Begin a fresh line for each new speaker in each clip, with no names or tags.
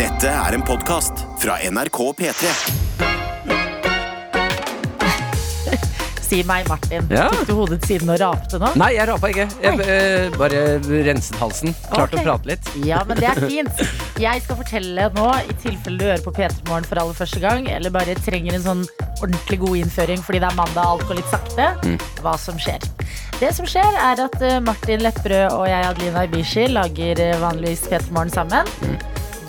Dette er en podkast fra NRK P3.
Si meg, Martin.
Ja.
Tok du hodet til siden og rapte nå?
Nei, jeg rapa ikke. Jeg eh, bare renset halsen. Klarte
Ok.
å prate litt.
Ja, men det er fint. Jeg skal fortelle nå, i tilfelle du hører på P3 Morgen for aller første gang, eller bare trenger en sånn ordentlig god innføring fordi det er mandag og alt går litt sakte,
Mm.
hva som skjer. Det som skjer, er at eh, Martin Lepperød og jeg, Adelina Ibishi, lager eh, vanligvis P3 Morgen sammen.
Mm.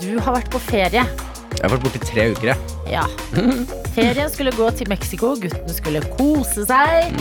Du har vært på ferie.
Jeg har vært borte i tre uker, jeg.
Ja. Ferien skulle gå til Mexico, guttene skulle kose seg.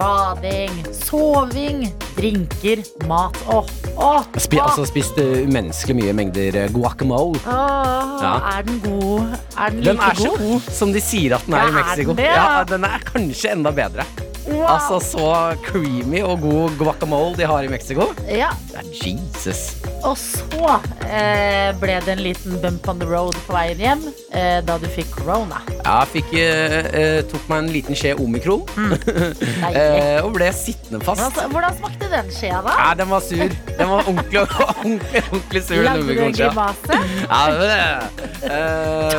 Bading, soving, drinker, mat. Åh, åh,
Spi,
åh.
altså spist eh, umenneskelig mye mengder eh, guacamole.
Åh,
Ja.
Er den god? Er den like
Den er så
god?
god som de sier at den er
Ja,
i
er
Mexico.
den det?
Ja, Den er kanskje enda bedre.
Wow.
Altså så creamy og god guacamole de har i Mexico.
Ja.
Det er Jesus.
Og så eh, ble det en liten bump on the road på veien hjem eh, da du fikk corona.
Jeg fikk, eh, eh, tok meg en liten skje omikron
Mm. Deilig.
eh, og ble sittende fast.
Hvordan, hvordan smakte den skjea, da?
Nei, den var sur. Den var ordentlig, ordentlig, ordentlig sur. den
Lagde du en
omikron-skjea.
grimase?
Ja, det var
Oi.
det.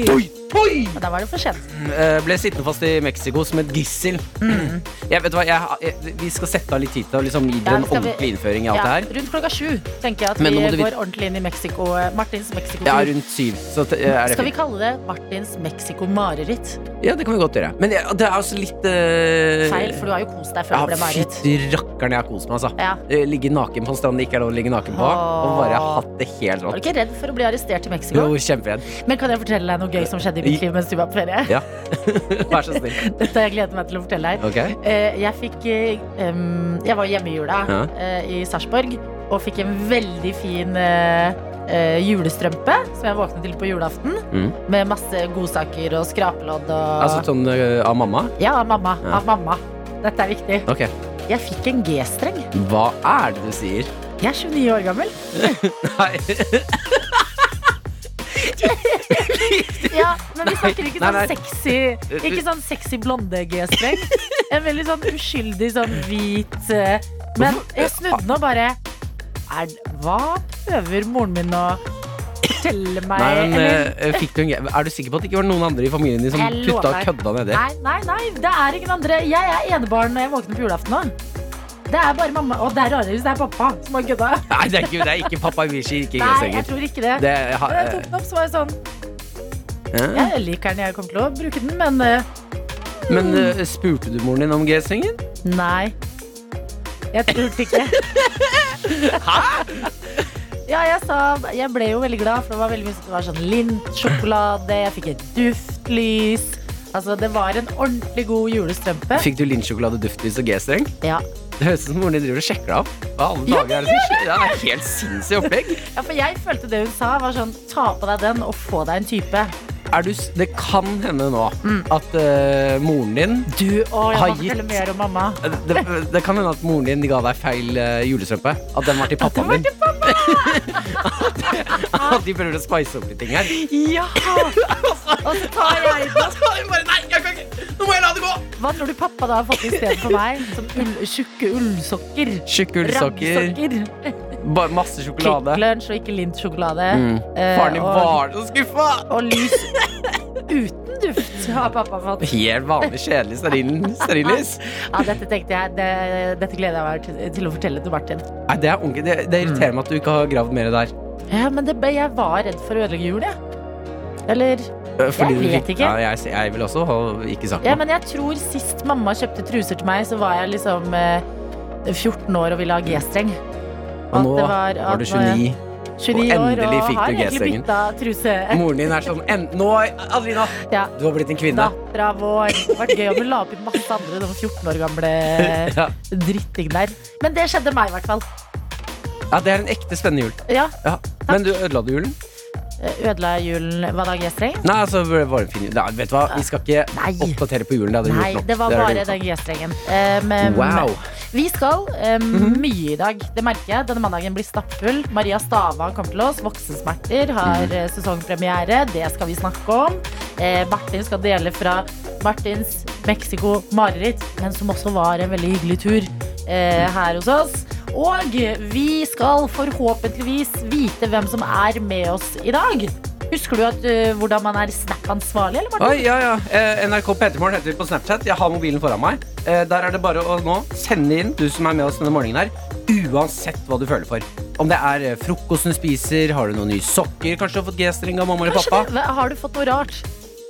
Eh, toi, toi!
Men Da var det for sent.
Eh, Ble sittende fast i Mexico som et gissel.
Mm.
Jeg vet hva, jeg, jeg, Vi skal sette av litt tid til å liksom gi
Ja,
dere en
skal vi-
ordentlig innføring i alt
Ja,
det her.
rundt klokka sju tenker jeg at
Men nå
vi
må du vite-
går ordentlig inn i Mexico. eh, Martins Mexico.
Ja, rundt syv. Så t- er det
Skal vi
fint.
kalle det Martins Mexico-mareritt?
Ja, det kan vi godt gjøre. Men ja, det er også litt eh,
Feil, for du har jo kost deg før
ja,
det ble mareritt.
Fytti rakkeren, jeg har kost meg, altså.
Ja.
Eh, Ligge naken på en strand det ikke er lov å ligge naken på.
Åh.
Og bare hatt det helt
Var du
rått.
ikke redd for å bli arrestert i Mexico?
Jo, kjemperedd.
Men kan jeg fortelle deg noe gøy som skjedde i mitt liv mens du var på ferie?
Ja. Vær så snill.
Dette har jeg gledet meg til å fortelle deg.
Ok?
Eh, Jeg fikk eh, em, Jeg var hjemme i jula
Ja.
eh, i Sarpsborg og fikk en veldig fin eh, eh, julestrømpe som jeg våknet til på julaften.
Mm.
Med masse godsaker og skrapelodd og
Altså sånn eh, av mamma?
Ja, av mamma.
Ja.
Av mamma. Dette er viktig.
Ok.
Jeg fikk en G-streng.
Hva er det du sier?
Jeg er 29 år gammel.
Nei.
Ja, men vi snakker ikke
Nei,
sånn
nei.
sexy Ikke sånn sexy blonde G-streng. En veldig sånn uskyldig sånn hvit eh, Men jeg snudde den og bare er, Hva prøver moren min å fortelle meg?
Nei, men
eller,
eh, fikk du en ge- Er du sikker på at det ikke var noen andre i familien din som
Jeg
putta
lover.
og kødda nedi?
nei, nei, nei, det er ingen andre. Jeg er enebarn når jeg våkner på julaften nå. Det er bare mamma og det er rarere hvis det er pappa som har kødda.
Nei, det er ikke, det er ikke pappa Ibishi, ikke
Nei, jeg
Gresshenger.
tror ikke det.
Det ha,
Men jeg tok den opp, så var jeg sånn
eh,
Jeg liker den, jeg kommer til å bruke den, men eh,
Men eh, spurte du moren din om G-strengen?
Nei. Jeg turte ikke. Hæ?! Ja, jeg sa Jeg ble jo veldig glad, for det var veldig mye Det var sånn lintsjokolade, jeg fikk et duftlys. Altså, det var en ordentlig god julestrømpe.
Fikk du linsjsjokolade, duftlys og G-streng?
Ja.
Det høres ut som moren din driver og sjekker deg opp. Hva alle
Ja,
dager er det som skjer? Ja, Det er helt sinnssykt opplegg.
ja, for jeg følte det hun sa, var sånn Ta på deg den og få deg en type.
Er du, s- det kan hende nå
Mm.
at eh, moren din
Du og jeg må
Har
fortelle
gitt.
mer om mamma.
det, det kan hende at moren din ga deg feil eh, julestrømpe. At den var til pappaen din. At de prøver å spice opp litt ting her.
Ja! Og så tar jeg den.
Bare, nei, jeg kan ikke. Nå må jeg la det gå!
Hva tror du pappa da har fått i stedet for meg? Som ull, tjukke ullsokker.
Tjukke ullsokker,
Raggsokker.
ba- masse
Quick
sjokolade.
Lunch og ikke lintsjokolade.
Mm.
Eh,
Faren din
og,
var så skuffa!
og lys uten duft har pappa fått.
Helt vanlig kjedelig stearin- stearinlys.
Ja, dette tenkte jeg det, Dette gleder jeg meg til, til å fortelle til Martin.
Nei, det, er ordentlig- det, det irriterer meg at du ikke har gravd mer der. Øh,
Ja, men det, ble- jeg var redd for å ødelegge jul, jeg. Eller
Eh, fordi
Jeg
du
vet
fikk-
ikke.
Ja, jeg, jeg vil også ha ikke sagt
Ja,
noe.
men jeg tror sist mamma kjøpte truser til meg, så var jeg liksom eh, 14 år og ville ha G-streng.
Og nå
var- at
var du
nå er jeg 29
29. og
år,
endelig
og
fikk
har
du
egentlig
G-strengen.
bytta truse.
Moren din er sånn en, Nå, Adelina!
Ja.
Du har blitt en kvinne.
Dattera vår. Det hadde vært gøy om hun la opp i masse andre de 14 år gamle
Ja.
dritting der. Men det skjedde meg, i hvert fall.
ja, det er en ekte spennende jul.
Ja,
Ja. Men du ødela du julen?
Ødela julen Hva da, G-streng?
Nei, altså, det var en fin jul. Nei, vet du hva, vi skal ikke
Nei.
oppdatere på julen. Det hadde du
Nei,
gjort nok.
det var
hadde du
bare
gjort
den
nok.
G-strengen. Eh, men-
Wow.
Vi skal eh, mye i dag. Det merker jeg. Denne mandagen blir stappfull. Maria Stava kommer til oss. Voksensmerter har eh, sesongpremiere. Det skal vi snakke om. Eh, Martin skal dele fra Martins Mexico-mareritt, men som også var en veldig hyggelig tur eh, her hos oss. Og vi skal forhåpentligvis vite hvem som er med oss i dag. Husker du at, eh, hvordan man er Snap-ansvarlig? eller, Martin?
Oi, ja, ja. Eh, NRK P3morgen heter vi på Snapchat. Jeg har mobilen foran meg. Eh, der er det bare å nå sende inn, du som er med oss denne morgenen her, uansett hva du føler for. Om det er eh, frokosten du spiser, har du noen nye sokker, kanskje du har fått G-streng av mamma eller
Kanskje
pappa,
det- hva- Har du fått noe rart?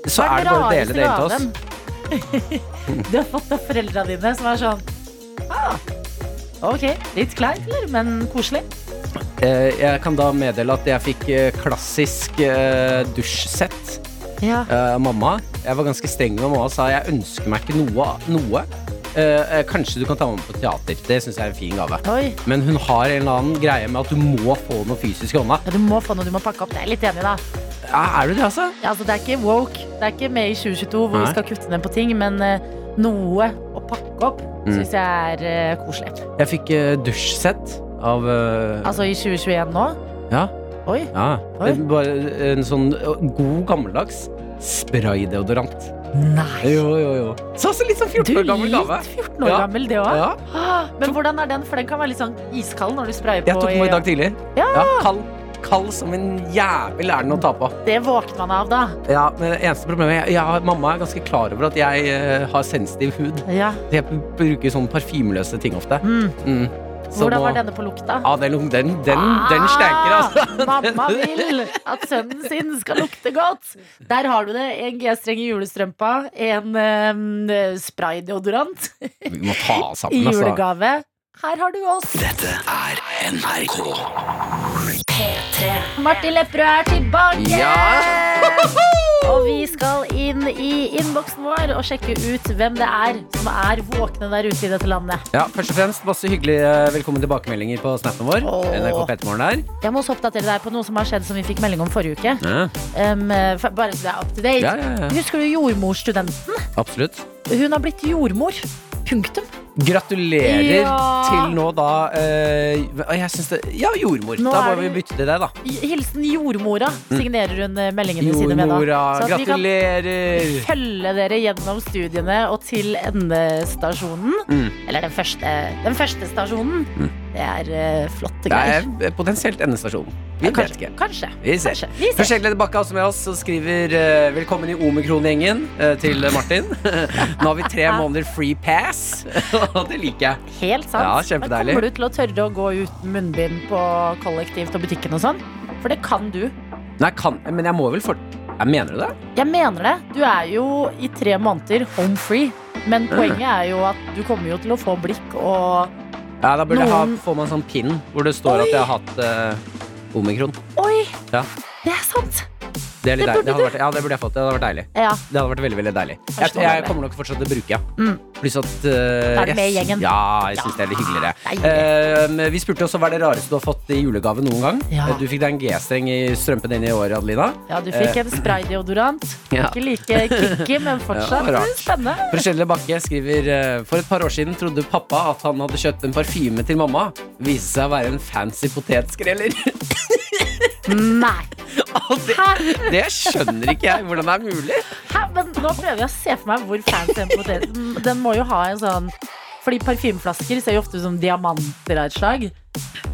så
Hva
er det bare å
rareste
dele det inn til oss.
gaven? du har fått av foreldra dine, som er sånn ah, OK, litt kleint, eller? Men koselig.
Eh, jeg kan da meddele at jeg fikk eh, klassisk eh, dusjsett.
Ja.
Eh, mamma, jeg var ganske streng med mamma og sa jeg ønsker meg ikke noe. noe. Eh, eh, kanskje du kan ta meg med på teater. Det syns jeg er en fin gave.
Oi.
Men hun har en eller annen greie med at du må få noe fysisk i hånda.
Ja, du må få noe du må pakke opp. Det er jeg litt enig i, da.
Ja, er du det, altså?
Ja, altså, det er ikke woke. Det er ikke med i 2022 hvor vi
Nei.
skal kutte ned på ting, men eh, noe å pakke opp
Mm.
syns jeg er eh, koselig.
Jeg fikk eh, dusjsett av eh,
Altså i 2021 nå
Ja.
Oi.
ja.
Oi.
En- Bare en sånn eh, god, gammeldags spraydeodorant.
Nei.
Jo, jo, jo. Så også litt sånn
Du
14 år gammel gave.
litt 14 år
Ja.
gammel, det òg.
Ja,
Men hvordan er den? For den kan være litt sånn iskald når du sprayer på.
jeg tok den på i dag tidlig.
Ja.
kald. Kald som en jævel er den å ta på.
eh, Det våkner man av, da.
Ja, men det eneste problemet jeg, jeg, har- Mamma er ganske klar over at jeg eh, har sensitiv hud.
Ja.
Jeg bruker sånne parfymeløse ting ofte.
Mm.
Mm. Så
Hvordan
nå-
var denne på lukta?
Ja, den, den, den, den stenker, altså.
Ah, Mamma vil at sønnen sin skal lukte godt. Der har du det. En G-streng i julestrømpa, en eh, spraydeodorant
Ah. Vi må ta oss
i
sammen, altså.
julegave. Her har du oss.
Dette er NRK.
Martin Lepperød er tilbake!
Ja.
Og vi skal inn i innboksen vår og sjekke ut hvem det er som er våkne der ute i dette landet.
Ja, først og fremst masse hyggelige eh, velkommen tilbakemeldinger på snappen vår.
Åh.
NRK Petermorgen der.
Jeg må også oppdatere deg på noe som har skjedd som vi fikk melding om forrige uke. Um, for, bare så det er up to date.
Ja, ja, ja.
Husker du jordmorstudenten?
Absolutt.
Hun har blitt jordmor. Punktum.
Gratulerer
Ja.
til nå da eh, Jeg syns det Ja, jordmor.
Nå
da
er
må vi
det-
bytte til deg, da.
Hilsen jordmora, signerer hun eh, meldingene sine med. da.
Mm. Jordmora,
Så at vi kan
gratulerer.
følge dere gjennom studiene og til endestasjonen.
Mm.
Eller den første, den første stasjonen. Det er eh, flotte
Det
greier.
er potensielt endestasjonen. Vi vet
kanskje,
ikke.
kanskje.
Vi ser.
kanskje. Vi ser.
Forskjellige Bakke er også med oss og skriver eh, velkommen i omikron-gjengen eh, til Martin. Nå har vi tre måneder free pass, og det liker jeg.
Helt sant.
Ja,
Men
kjempedeilig.
kommer du til å tørre å gå uten munnbind på kollektivt og butikken og sånn? For det kan du.
Nei, kan, men jeg må vel for... Jeg mener du det?
Jeg mener det. Du er jo i tre måneder home free. Men poenget er jo at du kommer jo til å få blikk og
Ja, da burde jeg ha,
Noen-
få meg en sånn pin hvor det står at jeg har hatt eh, omikron.
Oi!
Ja.
Det er sant!
Det, er litt
Det burde
deilig. det hadde vært, ja, det burde jeg fått. Det hadde vært deilig.
Ja.
Det hadde vært veldig, veldig deilig. Jeg,
Forstår
jeg
det.
kommer nok fortsatt til å bruke, ja.
Mm.
Pluss at
Da
eh,
er du med i gjengen.
Ja, jeg syns det er litt hyggeligere.
Deilig.
Eh, vi spurte også hva er det rareste du har fått i julegave noen gang.
Ja.
Eh, Du fikk deg en G-streng i strømpen din i år, Adelina.
Ja, du fikk en spraydeodorant.
Eh. Ja.
Ikke like kicky, men fortsatt
Ja, rart.
spennende.
Rochelle Bakke skriver eh, For et par år siden trodde pappa at han hadde kjøpt en parfyme til mamma. Viste seg å være en fancy potetskreller.
Nei.
Og det,
Hæ?
det skjønner ikke jeg hvordan det er mulig.
Hæ? Men nå prøver jeg å se for meg hvor fancy en potet Den- Den må jo ha en sånn Fordi parfymeflasker ser jo ofte ut som diamanter av et slag.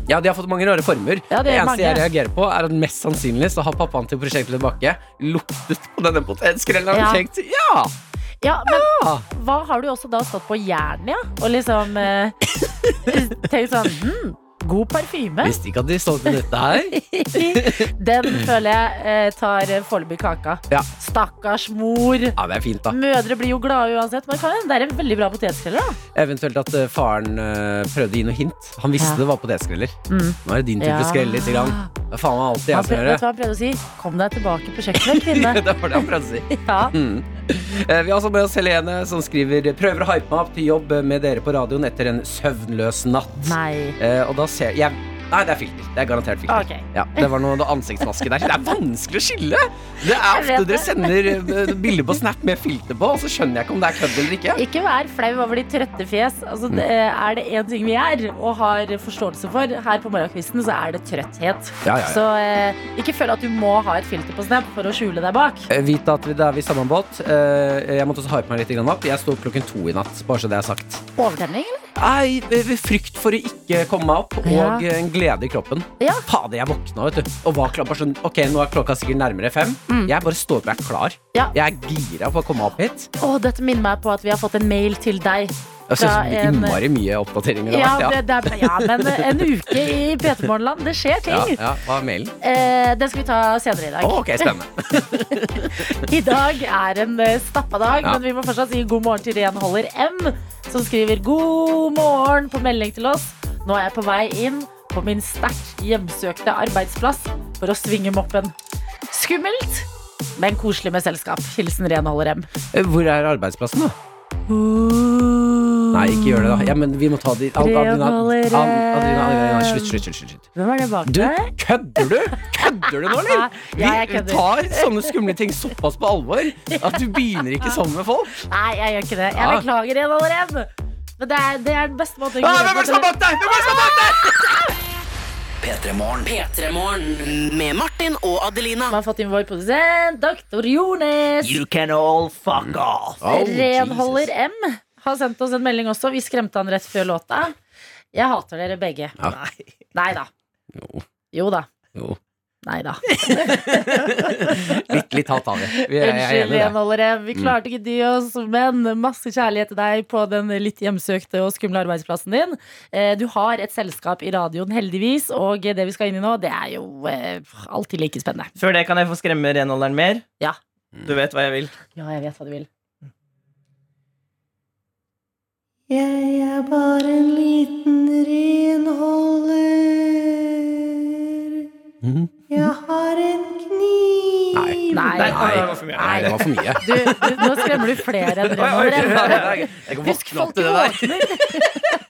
Ja, De har fått mange rare former.
Ja, det
det
er
eneste
mange.
jeg reagerer på, er at mest sannsynlig så har pappaen til prosjektet Bakke luktet på denne potetskrellen og
Ja. Ah.
tenkt ja!
Ja, men
ja.
hva har du også da stått på Jernia og liksom eh, tenkt sånn hm, God parfyme.
Visste ikke at de stod med dette her.
Den føler jeg eh, tar eh, foreløpig kaka.
Ja.
Stakkars mor.
Ja, det er fint, da.
Mødre blir jo glade uansett, men kan hende det er en veldig bra potetskreller. da
Eventuelt at eh, faren eh, prøvde å gi noe hint. Han visste
Ja.
det var potetskreller.
Mm.
Nå er det din tur
Ja.
til å skrelle litt. Grann. Det er faen meg alltid
Han
jeg som
prøv, vet
gjør
du
det.
hva han prøvde å si? Kom deg tilbake på kjøkkenet, kvinne.
Det var det han prøvde å si.
Ja.
Mm. Eh, Vi har også med oss Helene, som skriver Prøver å hype meg opp til jobb med dere på radioen etter en søvnløs natt.
Nei.
Eh, og da ser jeg Nei, det er filter. Det er garantert filter.
Ok.
Ja, det var noe ansiktsmaske der. Det er vanskelig å skille! Det er
Jeg vet
ofte dere
det.
sender eh, bilder på Snap med filter på, og så skjønner jeg ikke om det er kødd eller ikke.
Ikke vær flau over de trøtte fjes. Altså, det, er det én ting vi er og har forståelse for her på morgenkvisten, så er det trøtthet.
Ja, ja, ja.
Så eh, ikke føl at du må ha et filter på Snap for å skjule deg bak.
Eh, Vit at vi- da er vi i samme båt. Eh, Jeg måtte også hype meg litt grann opp. Jeg sto opp klokken to i natt, bare så det er sagt.
Overtenning, eller?
Nei, eh, frykt for å ikke komme meg opp,
Ja.
og eh, en glede i kroppen.
Ja.
Fader, jeg våkna vet du, og var klar. Bare sånn, ok, Nå er klokka sikkert nærmere fem. Jeg bare står opp og er klar.
Ja.
Jeg er gira på å komme opp hit.
Å, dette minner meg på at vi har fått en mail til deg.
Jeg ser
Fra
så
en-
innmari mye oppdateringer. det
Ja,
har
det,
vært,
det er, ja men en uke i P3morgenland. Det skjer ting.
ja. ja, ja, Hva er mailen?
Eh, den skal vi ta senere i dag.
Å, ok, spennende.
I dag er en eh, stappa dag,
Ja.
men vi må fortsatt si god morgen til renholder M, som skriver god morgen på melding til oss. Nå er jeg på vei inn på min sterkt hjemsøkte arbeidsplass for å svinge moppen. Skummelt, men koselig med selskap. Hilsen renholder M.
Eh, Hvor er arbeidsplassen, da? Nei, ikke gjør det, da. Ja, men vi må ta de Ad- Adelina-
Revolerem.
Ad- Adelina- Adelina, Slutt, slutt, slutt. slutt.
Hvem er det bak
Du,
deg?
kødder du? Kødder du nå, eller?
Ja, jeg
Vi
kødder.
tar sånne skumle ting såpass på alvor at du begynner ikke sånn med folk.
Nei, jeg gjør ikke det. Jeg
Ja.
beklager renholder M. Men det er, det er den beste måten å
Ah,
gjøre
hvem er det som er
det
bak deg? Hvem er det som er bak deg?
P3morgen.
P3morgen med Martin og Adelina.
Man har fått inn vår produsent, doktor Jones.
You can all fuck off.
Renholder M har sendt oss en melding også. Vi skremte han rett før låta. Jeg hater dere begge.
Ja.
Nei. Nei da.
Jo.
Jo da.
Jo.
Nei da.
Litt, litt halvt av det. Vi er, jeg er
Unnskyld,
enig i det.
renholdere. Vi klarte ikke dy oss, men masse kjærlighet til deg på den litt hjemsøkte og skumle arbeidsplassen din. Eh, Du har et selskap i radioen, heldigvis, og det vi skal inn i nå, det er jo eh, alltid like spennende.
Før det kan jeg få skremme renholderen mer.
Ja.
Du vet hva jeg vil.
Ja, jeg vet hva du vil.
Jeg er bare en liten renholder.
Mhm.
Jeg har en kniv
Nei.
Nei.
Nei,
Nei.
det var for mye.
Nei, det var for mye.
Du, du, nå skremmer du flere enn
Oi, oi, oi,
renholdere.
oi, oi.
Jeg kan
Husk,
våkne opp
folk
til det der.
våkner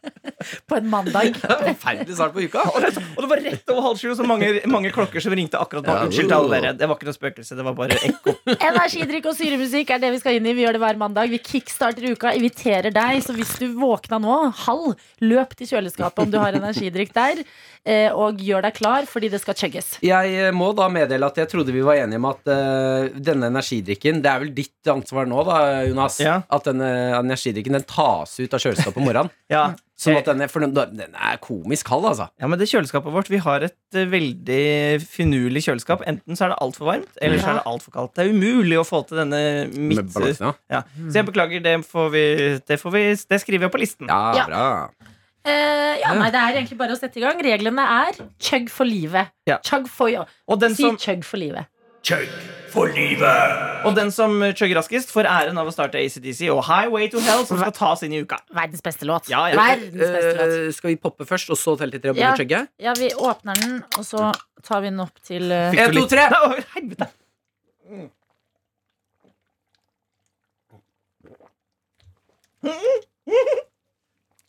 på en mandag.
Forferdelig start på uka.
Og det og det var rett over halv sju, så mange, mange klokker som ringte akkurat nå.
Ja. oh.
Unnskyld til alle dere. Det var ikke noe spøkelse. Det var bare ekko.
Energidrikk og syremusikk er det vi skal inn i. Vi gjør det hver mandag. Vi kickstarter uka, inviterer deg. Så hvis du våkna nå, halv, løp til kjøleskapet om du har energidrikk der. eh, Og gjør deg klar, fordi det skal chugges.
Jeg eh, må da meddele at jeg trodde vi var enige om at eh, denne energidrikken Det er vel ditt ansvar nå, da, Jonas?
Ja.
At denne energidrikken den tas ut av kjøleskapet om morgenen.
Ja.
Sånn at denne, for den, den er komisk kald, altså.
Ja, men det kjøleskapet vårt, Vi har et eh, veldig finurlig kjøleskap. Enten så er det altfor varmt, eller så er det altfor kaldt. Det er umulig å få til denne
Med
midt...
balansen, ja.
Ja. Så jeg beklager, det, får vi, det, får vi, det skriver jeg på listen.
Ja,
Ja.
bra.
Eh, ja, nei, det er egentlig bare å sette i gang. Reglene er chug for livet.
Ja.
Chug for ja.
Og, den
Si
som,
chug for livet.
og den som chugger raskest, får æren av å starte ACDC og Highway to Hell, som skal tas inn i uka.
Verdens beste låt.
Ja, ja.
Verdens beste låt.
Eh, skal vi poppe først, og så telle til tre? og
Ja.
begynne å chugge?
Ja, vi åpner den, og så tar vi den opp til eh,
En, to, tre.
Nei, å, helvete.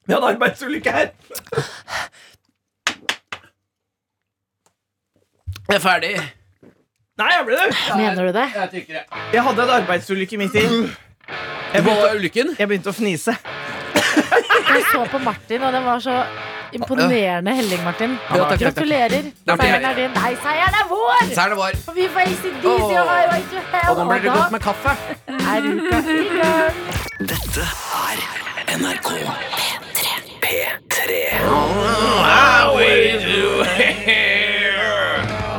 Vi hadde arbeidsulykke her.
Jeg er ferdig.
Nei, jeg ble det.
Mener du det?
Jeg trykker det.
Jeg hadde en arbeidsulykke midt i. Jeg
Hva
begynte,
var ulykken?
jeg begynte å fnise.
Jeg så på Martin, og det var så imponerende helling, Martin.
Ja, takk, takk, takk.
Gratulerer.
Takk.
Seieren er din. Nei, seieren er vår!
Seieren vår.
For vi får ACDC og
Åh.
Highway to Hell.
Og nå blir det godt
Og
med kaffe.
da er uka i gang.
Dette er NRK P3. P3.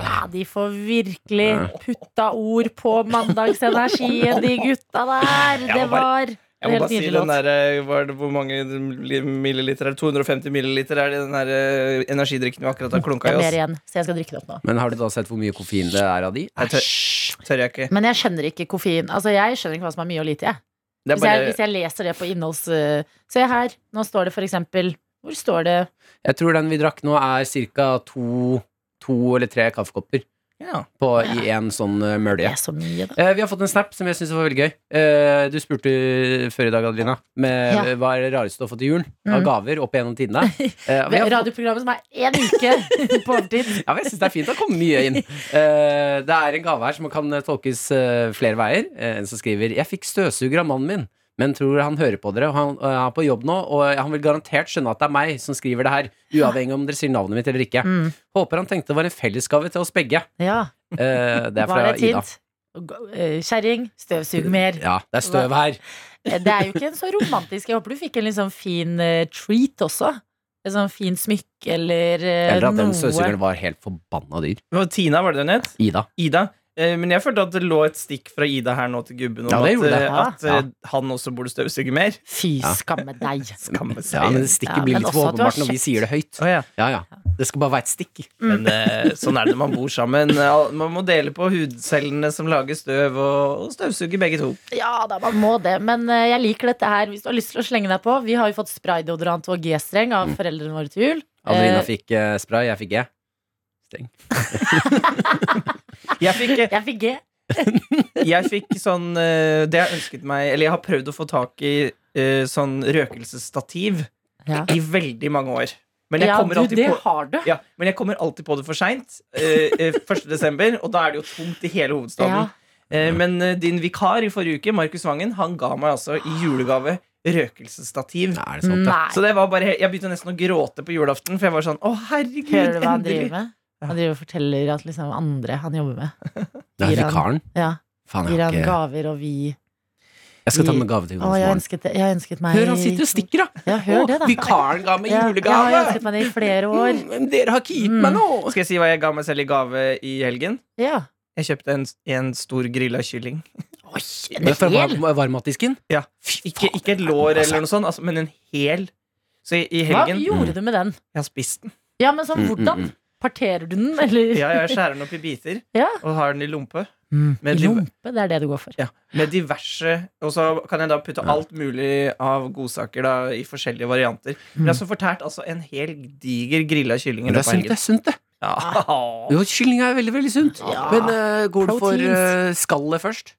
Ja, de får virkelig putta ord på mandagsenergien, de gutta der.
Jeg må
Det
bare-
var
Jeg må
helt
bare si
nydelig
den
låt.
der, eh, var det, Hvor mange milliliter er det? 250 milliliter er det i den der eh, energidrikken vi akkurat har
Det
klunka i
er mer
oss?
igjen, så jeg skal drikke det opp nå.
Men har du da sett hvor mye koffein det er av de?
Jeg tør, tør jeg ikke.
Men jeg skjønner ikke koffein. Altså, jeg skjønner ikke hva som er mye og lite, jeg.
Det er
Hvis jeg,
bare,
hvis jeg leser det på innholds... eh, se her, nå står det for eksempel Hvor står det?
Jeg tror den vi drakk nå, er ca. To, to eller tre kaffekopper
ja.
på, i én sånn eh,
Det
mølje.
er så mye, da.
Eh, vi har fått en snap som jeg syns var veldig gøy. Eh, du spurte før i dag, Adelina, med
Ja.
hva er det rareste du har fått i julen
Mm.
av gaver opp igjennom tidene. Eh, vi har fått-
Radioprogrammet som er én uke på overtid.
ja, men jeg syns det er fint å komme mye inn. Eh, det er en gave her som kan eh, tolkes eh, flere veier. Eh, en som skriver 'Jeg fikk støvsuger av mannen min'. Men tror han hører på dere, og han eh, er på jobb nå, og han vil garantert skjønne at det er meg som skriver det her, uavhengig om dere sier navnet mitt eller ikke.
Mm.
Håper han tenkte det var en fellesgave til oss begge.
Ja,
Eh, det
var
er fra
det et
Ida.
hint? eh, Kjerring, støvsug mer. Eh,
Ja, det er støv her.
Det er jo ikke en så romantisk. Jeg håper du fikk en litt sånn fin eh, treat også. Et sånn fint smykke eller eh,
Eller at den
noe.
støvsugeren var helt forbanna dyr.
Det var Tina, var det den het?
Ida.
Ida. Eh, Men jeg følte at det lå et stikk fra Ida her nå til gubben om
Ja, det
at,
gjorde det. Ah,
eh, at eh,
Ja.
han også burde støvsuge mer.
Fy,
Ja.
skamme deg.
Skamme seg.
Ja, men det stikket
Ja,
blir
men
litt
også
for
at du har
åpenbart når vi
kjøpt-
sier det høyt.
Å, ja.
Ja, ja. Det skal bare være et stikk.
Men eh, sånn er det når man bor sammen. eh, Al- Man må dele på hudcellene som lager støv, og, og støvsuge begge to.
Ja da, man må det. Men eh, jeg liker dette her. Hvis du har lyst til å slenge deg på. Vi har jo fått spraydeodorant og G-streng av
Mm.
foreldrene våre til jul.
Adelina
Eh,
fikk eh, spray, jeg fikk G. Streng.
Jeg fikk, eh,
Jeg fikk G.
jeg fikk sånn eh, Det jeg ønsket meg Eller jeg har prøvd å få tak i eh, sånn røkelsesstativ
Ja.
i veldig mange år. Men jeg
Ja,
kommer
du,
alltid
det
på
har du.
Ja, men jeg kommer alltid på det for seint. eh, eh, 1. desember, og da er det jo tomt i hele hovedstaden. Eh, men eh, din vikar i forrige uke, Markus Vangen, han ga meg altså i julegave røkelsesstativ.
Nei, er det sant? da?
Så
Nei.
det var bare, he- Jeg begynte nesten å gråte på julaften, for jeg var sånn Å, herregud,
Hører du hva han driver
endelig!
med? Han driver og forteller at liksom andre han jobber med,
Det er
Gir han-
vikaren.
ja,
Faen,
gir
jeg, har
han
ikke...
gaver, og vi
jeg skal ta med gave til
Å, jeg
Jonas
ønsket, det- jeg ønsket meg
morgen. Hør, han sitter og stikker, sånn- da!
Ja, hør det, da.
Å, Vikaren ga meg
Ja,
julegave!
Jeg har ønsket meg det i flere år.
Mm, men dere har ikke gitt meg noe!
Skal jeg si hva jeg ga meg selv i gave i helgen?
Ja.
Jeg kjøpte en, en stor grilla kylling.
Oi, en
Men Fra
hel?
varm- varmmatdisken?
Ja.
Fy
Ikke,
faen,
ikke et
det er
lår
altså.
eller noe sånt, altså, men en hel. Så i, i
Hva
helgen
gjorde du med den?
Jeg har spist den.
Ja, men sånn
Mm, mm,
hvordan? Parterer du den, eller?
Ja, jeg skjærer den opp i biter
Ja.
og har den i lompe.
Mm,
Men
i
du-
Lompe, det er det du går for.
Ja, Med diverse Og så kan jeg da putte alt mulig av godsaker da i forskjellige varianter. Men jeg har så fortært altså en hel diger grilla kylling.
Mm.
i
Men det
løpet
er
av
sunt, det er sunt,
helgen.
det.
Ja.
Jo, kylling er veldig, veldig sunt.
Ja.
Men eh, går du for
Proteins.
eh, skallet først?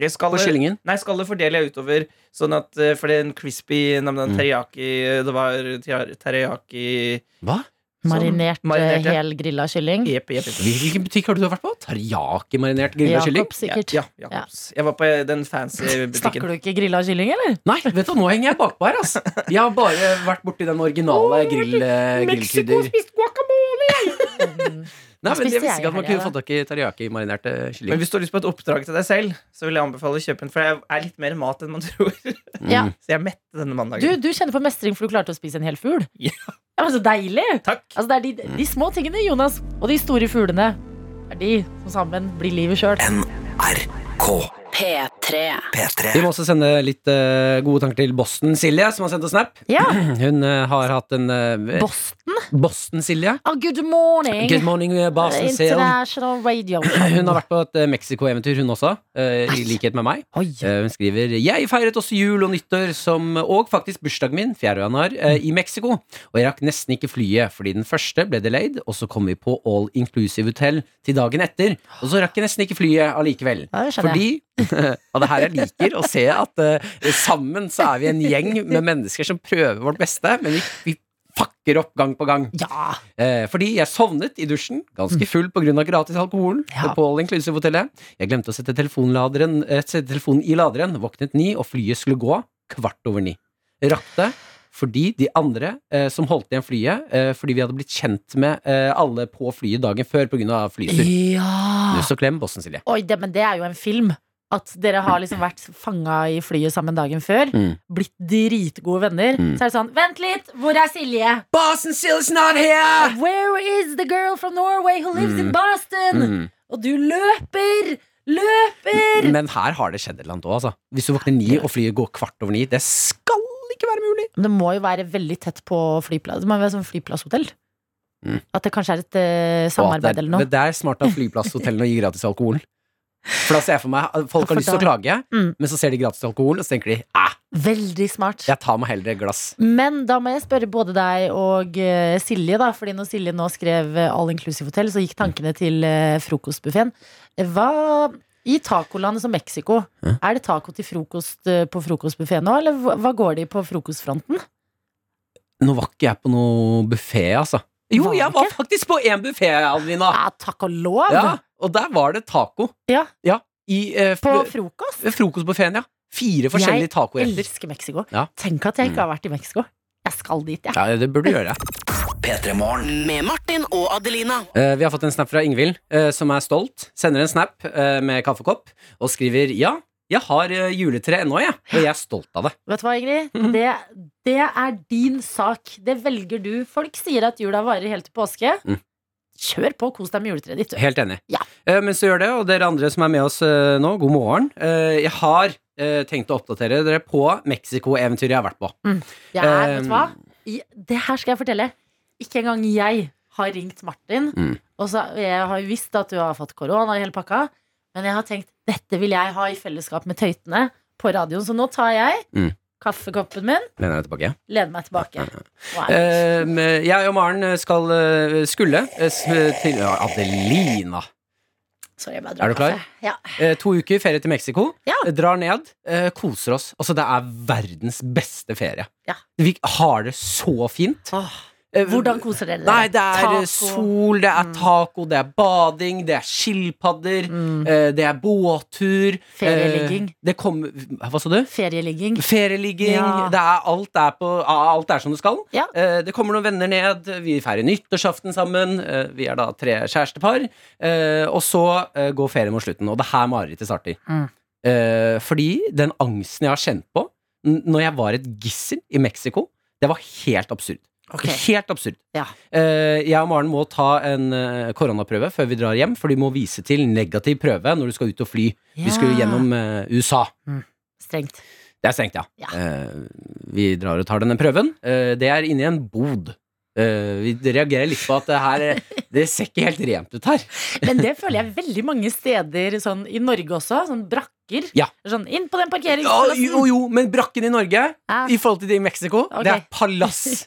Jeg skal,
På kyllingen?
nei, skallet fordeler jeg utover. Sånn at, eh, For den crispy nam, nam,
Mm.
teriyaki Det var ter- teriyaki
Hva?
Marinert,
marinert, ja.
eh, hel grilla kylling.
Jepp, jepp,
Mm.
jepp.
Hvilken butikk har du vært på? Teriyaki-marinert grilla kylling?
Jakob, sikkert.
Ja, ja, Jacobs. Jeg var på den fancy
Snakker
butikken.
du ikke grilla kylling, eller?
Nei, vet du, nå henger jeg bakpå her, ass. Jeg har bare vært borti den originale grill, eh, grillkrydder.
spiste guacamole, Mm.
Nei, men
spiste
jeg
jeg
visste ikke at man
her,
kunne
ja.
få tak i teriyaki-marinerte
Men
kylling.
hvis du har lyst på et oppdrag til deg selv, så vil jeg anbefale å kjøpe en. For jeg er litt mer mat enn man tror.
Ja.
Mm.
Så jeg er mett denne
Du,
mandagen.
du kjenner på mestring for du klarte å spise en hel fugl.
Ja.
Ja, men Så deilig!
Takk.
Altså, det er de,
Mm.
de små tingene, Jonas, og de store fuglene, er de som sammen blir livet sjøl.
NRK
P3.
P3.
Vi må også sende litt eh, gode tanker til Boston Silje, som har sendt oss snap.
Ja,
Hun eh, har hatt en eh,
Boston.
Boston Silje.
Oh, good morning!
Good morning, eh, Boston Silje.
International radio.
Hun har vært på et eh, Mexico-eventyr, hun også, eh, i likhet med meg.
Oi.
Eh, Hun skriver Jeg feiret også jul og nyttår som, og faktisk bursdagen min 4. januar eh, i Mexico. Og jeg rakk nesten ikke flyet, fordi den første ble delayed, og så kom vi på all inclusive hotell til dagen etter. Og så rakk jeg nesten ikke flyet allikevel.
Ja, det skjønner jeg.
Fordi Og det er her jeg liker å se at eh, sammen så er vi en gjeng med mennesker som prøver vårt beste, men vi, vi fucker opp gang på gang.
Ja.
Eh, fordi jeg sovnet i dusjen, ganske full pga. gratis alkohol
Mm. Ja.
på All Inclusive Hotellet. Jeg glemte å sette, telefonladeren, eh, sette telefonen i laderen, våknet ni, og flyet skulle gå kvart over ni. Rakk det fordi de andre eh, som holdt igjen flyet, eh, fordi vi hadde blitt kjent med eh, alle på flyet dagen før pga. flytur.
ja.
Nuss og klem, Bossen Silje.
Oi, det, men det er jo en film. At dere har liksom vært fanga i flyet sammen dagen før.
Mm.
Blitt dritgode venner.
Mm.
Så er det sånn Vent litt! Hvor er Silje?
Bossen Silje's not here!
Where is the girl from Norway who lives in
Mm.
Boston?
Mm.
Og du løper! Løper!
Men her har det skjedd et eller annet òg, altså. Hvis du våkner ni, og flyet går kvart over ni, det skal ikke være mulig!
Men Det må jo være veldig tett på flyplass. Det må jo være sånn flyplasshotell.
Mm.
At det kanskje er et eh,
Og at
samarbeid
det,
eller noe.
men Det er smart av flyplasshotellene å gi gratis alkohol. For da ser jeg for meg at folk har lyst til å klage,
Mm.
men så ser de gratis alkohol, og så tenker de æh,
Veldig smart.
jeg tar meg heller et glass.
Men da må jeg spørre både deg og eh, Silje, da. Fordi når Silje nå skrev eh, All Inclusive Hotel, så gikk tankene til uh, frokostbuffeen. Hva I tacoland som Mexico,
Hæ?
er det taco til frokost eh, på frokostbuffeen nå, eller hva- hva går de på frokostfronten?
Nå var ikke jeg på noe buffé, altså. Jo,
Var det
jeg
Ah,
var faktisk på én buffé, Alvina!
Ja, takk og lov!
Ah. Ja, og der var det taco.
Ja.
I eh,
På
fr
frokost?
frokostbuffeen, ja. Fire forskjellige tacoretter.
Elsker Mexico.
Ja. Mm.
Tenk at jeg ikke har vært i Mexico. Jeg skal dit, jeg.
Ja, det burde du gjøre.
P3 Morgen.
Med Martin og Adelina.
Eh, Vi har fått en snap fra Ingvild, eh, som er stolt. Sender en snap eh, med kaffekopp og skriver ja, jeg har eh, juletre ennå, jeg, og jeg er stolt av det.
Vet du hva, Ingrid?
Mhm.
Det, det er din sak. Det velger du. Folk sier at jula varer helt til påske.
Mm.
Kjør på, kos deg med juletreet ditt. du.
Helt enig.
Ja.
Eh, Men så gjør det, og dere andre som er med oss eh, nå, god morgen. Eh, Jeg har eh, tenkt å oppdatere dere på Mexico-eventyret jeg har vært på.
Jeg er, vet
Eh,
du hva? I- Det her skal jeg fortelle. Ikke engang jeg har ringt Martin.
Mm.
Og så, jeg har jo visst at du har fått korona i hele pakka, men jeg har tenkt dette vil jeg ha i fellesskap med tøytene på radioen. Så nå tar jeg
Mm.
kaffekoppen min,
Lener jeg tilbake.
lener meg tilbake. Wow.
Eh, men Jeg og Maren skal eh, skulle eh, s- til ja, Adelina.
Sorry, jeg bare
er
drar
du klar?
kaffe. Ja.
Eh, To uker ferie til Mexico.
Ja.
Eh, Drar ned, eh, koser oss. Altså, det er verdens beste ferie.
Ja.
Vi har det så fint. Eh,
Hvordan koser dere dere?
Nei, det er eh,
Taco. Mm.
sol, det er taco, det er bading, det er skilpadder,
Mm.
eh, det er båttur.
Ferieligging.
Eh, Det kommer Hva sa du?
Ferieligging.
Ferieligging.
Ja.
Det er alt det er, på, alt er som det skal.
Ja.
Eh, det kommer noen venner ned, vi feirer nyttårsaften sammen. eh, vi er da tre kjærestepar. Eh, og så eh, går ferien mot slutten, og det er her marerittet starter.
Mm.
Eh, fordi den angsten jeg har kjent på n- når jeg var et gissel i Mexico, det var helt absurd. Helt absurd.
Ja.
Eh, jeg og Maren må ta en eh, koronaprøve før vi drar hjem, for du må vise til negativ prøve når du skal ut og fly. Vi skal jo
Ja.
gjennom eh, USA.
Strengt.
Det er strengt, ja.
Ja.
Eh, vi drar og tar denne prøven. Eh, det er inni en bod. Eh, vi reagerer litt på at det her eh, Det ser ikke helt rent ut her.
Men det føler jeg veldig mange steder sånn, i Norge også. Sånn brakker.
Ja.
Sånn inn på den
Ja, jo,
parkeringsplassen.
jo, men brakken i Norge
Ja.
i forhold til det i Mexico,
Ok.
det er palass.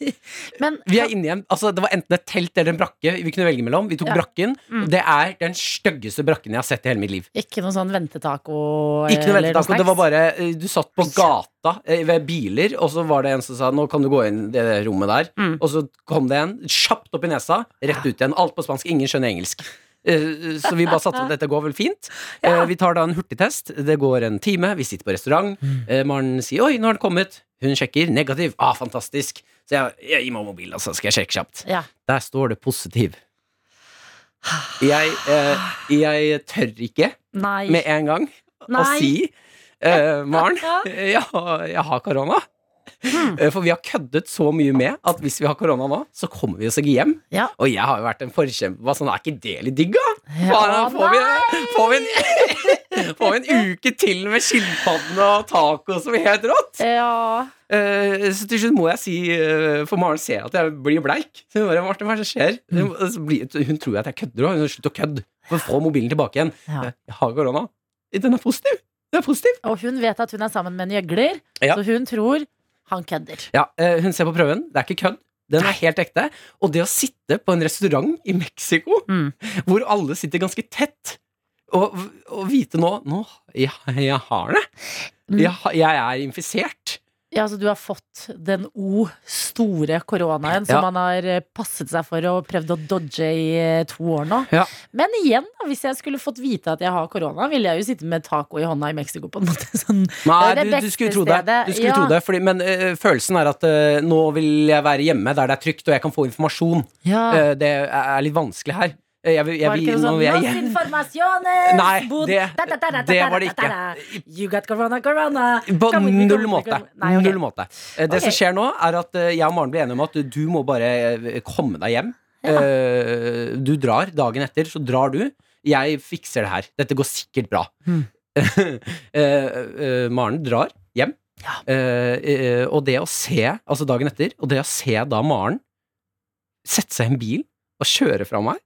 Men
Vi er inne i en, altså Det var enten et telt eller en brakke vi kunne velge mellom. Vi tok
Ja.
brakken.
Mm.
og Det er den styggeste brakken jeg har sett i hele mitt liv.
ikke noe sånn ventetaco?
Ikke noe
eller
ventetako,
snacks?
det var bare eh, Du satt på gata eh, ved biler, og så var det en som sa 'nå kan du gå inn i det rommet der',
Mm.
og så kom det en kjapt opp i nesa, rett ut igjen. Alt på spansk, ingen skjønner engelsk. Eh, Så vi bare satte på at dette går vel fint. Eh, Vi tar da en hurtigtest. Det går en time. Vi sitter på restaurant.
Mm.
Eh, Maren sier 'oi, nå har den kommet'. Hun sjekker negativ. Ah, fantastisk. Så jeg, jeg gir meg mobilen, altså. Skal jeg sjekke kjapt.
Ja.
Der står det positiv. Jeg, eh, jeg tør ikke
Nei.
med en gang og
Nei.
si eh, Maren,
Ja. Hmm.
jeg, har- jeg har korona. Eh, For vi har køddet så mye med at hvis vi har korona nå, så kommer vi oss ikke hjem.
Ja.
Og jeg har jo vært en forkjemper. Hva Sånn, er ikke det litt digg, da?
Ja,
Faen, da får, vi, får, vi en, får vi en uke til med skilpaddene og taco som er helt rått?
Ja.
Eh, så til slutt må jeg si, eh, for Maren ser at jeg blir bleik Så hun bare, Martin, hva er det som skjer?
Hmm.
Hun- så blir- Hun tror at jeg kødder, og hun slutter å kødde. For få mobilen tilbake igjen.
Ja.
Jeg har korona. Den er positiv. Den er positiv.
Og hun vet at hun er sammen med en gjøgler,
Ja.
så hun tror han kødder.
Ja, eh, hun ser på prøven. Det er ikke kødd. Den er helt ekte. Og det å sitte på en restaurant i Mexico,
Mm.
hvor alle sitter ganske tett, og, og vite nå Nå, jeg, jeg har det.
Mm.
Jeg, har- jeg er infisert.
Ja, så du har fått den O store koronaen som
Ja.
man har eh, passet seg for og prøvd å dodge i eh, to år nå.
Ja.
Men igjen, da, hvis jeg skulle fått vite at jeg har korona, ville jeg jo sitte med taco i hånda i Mexico på en måte. Sånn.
Nei,
Det er
du,
det
du skulle
beste
tro det.
stedet,
Du skulle
ja.
tro det fordi, men eh, følelsen er at eh, nå vil jeg være hjemme der det er trygt, og jeg kan få informasjon.
Ja.
Eh, det er litt vanskelig her. Eh, jeg, vil- jeg,
Ah. Var det ikke
vil-
noe
nå
sånn
vil jeg
«Nos
hjem.
informaciones,
Nei,
bud-
det-
da, da, da, da,
det
da,
var det
da, da, da. You got corona, corona.
På
Come with me, come
null
with me,
måte.
come with me. Nei, ok.
Null måte. Eh, Det
Ok.
som skjer nå, er at eh, jeg og Maren blir enige om at du må bare eh, komme deg hjem. Eh, Du drar dagen etter, så drar du. Jeg fikser det her. Dette går sikkert bra.
Mm.
Eh, eh, Maren drar hjem. Eh, eh, og det å se, altså dagen etter, og det å se da Maren sette seg i en bil og kjøre fra meg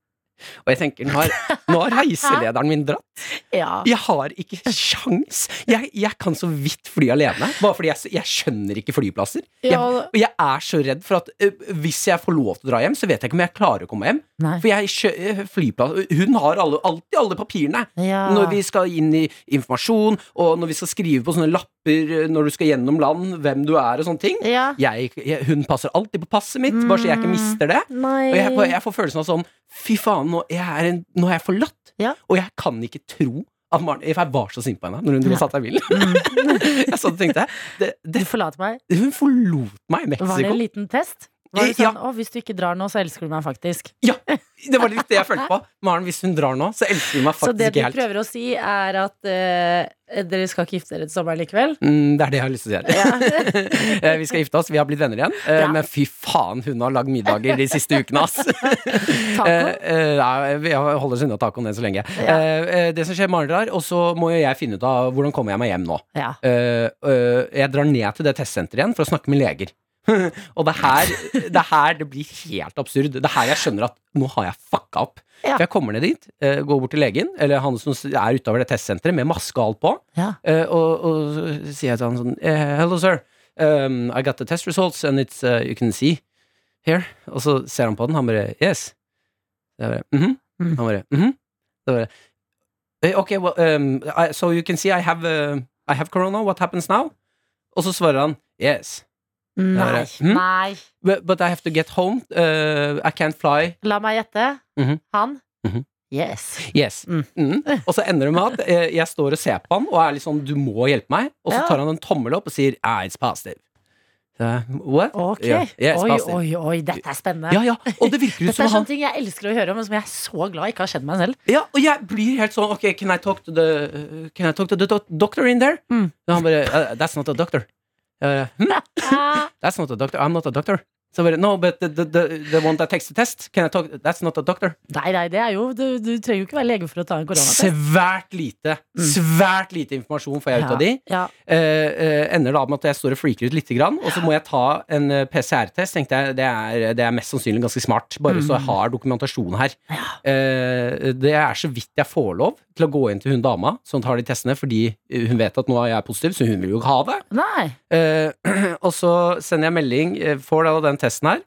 Og jeg tenker, nå har, nå har reiselederen min dratt.
Ja.
Jeg har ikke sjans jeg, jeg kan så vidt fly alene Bare fordi jeg, jeg skjønner ikke flyplasser jeg,
Ja, og-
Og jeg er så redd for at ø, Hvis jeg får lov til å dra hjem Så vet jeg ikke om jeg klarer å komme hjem
Nei.
For jeg skjø- flyplass Hun har alle, alltid alle papirene
Ja.
Når vi skal inn i informasjon Og når vi skal skrive på sånne lapper ø, Når du skal gjennom land Hvem du er og sånne ting
ja.
jeg, jeg, Hun passer alltid på passet mitt Bare så jeg
Mm.
ikke mister det
Nei.
og jeg, får- jeg får følelsen av sånn Fy faen, nå jeg er, en, nå er jeg forlatt.
Ja.
Og jeg kan ikke tro at Maren Jeg var så sint på henne når hun dro og satt seg i bilen.
Mm.
jeg satt og tenkte det,
Du
det,
forlater meg.
Hun forlot meg i
Var det
Mexico.
en liten test? Var det
Ja.
sånn, å, hvis du ikke drar nå, så elsker du meg faktisk.
Ja, det var litt det jeg følte på. Maren, hvis hun drar nå, så elsker hun meg
så det
faktisk
du
ikke helt.
prøver å si, er at eh, dere skal ikke gifte dere til sommeren likevel?
Mm, det er det jeg har lyst til å si her. Eh, vi skal gifte oss, vi har blitt venner igjen. Eh,
Bra.
Men fy faen, hun har lagd middager de siste ukene, ass.
Taco?
Eh, eh, nei, vi holder oss unna tacoen enn så lenge. Eh, eh, det som skjer, Maren drar, og så må jo jeg finne ut av hvordan kommer jeg meg hjem nå.
Ja.
Eh, eh, jeg drar ned til det testsenteret igjen for å snakke med leger. og det her, det her det blir helt absurd. Det er her jeg skjønner at nå har jeg fucka opp.
Ja.
For jeg kommer ned dit, eh, går bort til legen, eller han som er utafor det testsenteret, med maske og alt på.
Ja.
Eh, og, og så sier jeg til han sånn eh, Hello, sir. Um, I got the test results, and it's uh, You can see here. Og så ser han på den, han bare Yes. Jeg bare, «Mhm».
Mm.
Han bare mhm. Da bare «Eh, Ok, well, um, I, so you can see I have, uh, I have corona. What happens now? Og så svarer han Yes.
Nei.
Hm?
Nei.
But, but I have to get home. Uh, I can't fly.
La meg gjette.
Mhm.
Han?
Mhm.
Yes.
Yes.
Mm.
Mm. Og så ender det med at eh, jeg står og ser på han og er litt sånn 'du må hjelpe meg', og så
Ja.
tar han en tommel opp og sier ah, 'it's positive'. Så, jeg, What?
Ok.
Ja, yes,
oi,
positive.
oi, oi, dette er spennende.
Ja, ja, og det virker ut
Dette
som
er sånn
han
sånne ting jeg elsker å høre om, men som jeg er så glad ikke har skjedd meg selv.
Ja, og jeg blir helt sånn Ok, can I talk to the Can I talk to the doc- doctor in there?
Mm.
Og han bare «Uh, That's not a doctor. Uh, hm?
Ah,
That's not a doctor. I'm not a doctor. Så jeg bare No, but the, the, the, the one that takes the test, can I talk That's not a doctor.
nei, nei, det er jo Du, du trenger jo ikke være lege for å ta en koronatest.
Svært lite. Svært lite informasjon får jeg ut av de.
Mm. Ja.
Eh, eh, ender da med at jeg står og freaker ut litt, grann, og så må jeg ta en eh, PCR-test. tenkte jeg, det er, det er mest sannsynlig ganske smart, bare så jeg har dokumentasjon her. Eh, det er så vidt jeg får lov til å gå inn til hun dama sånn som tar de testene, fordi eh, hun vet at nå er jeg positiv, så hun vil jo ikke ha det.
Ja. Nei.
Eh, og så sender jeg melding, eh, får da den testen her,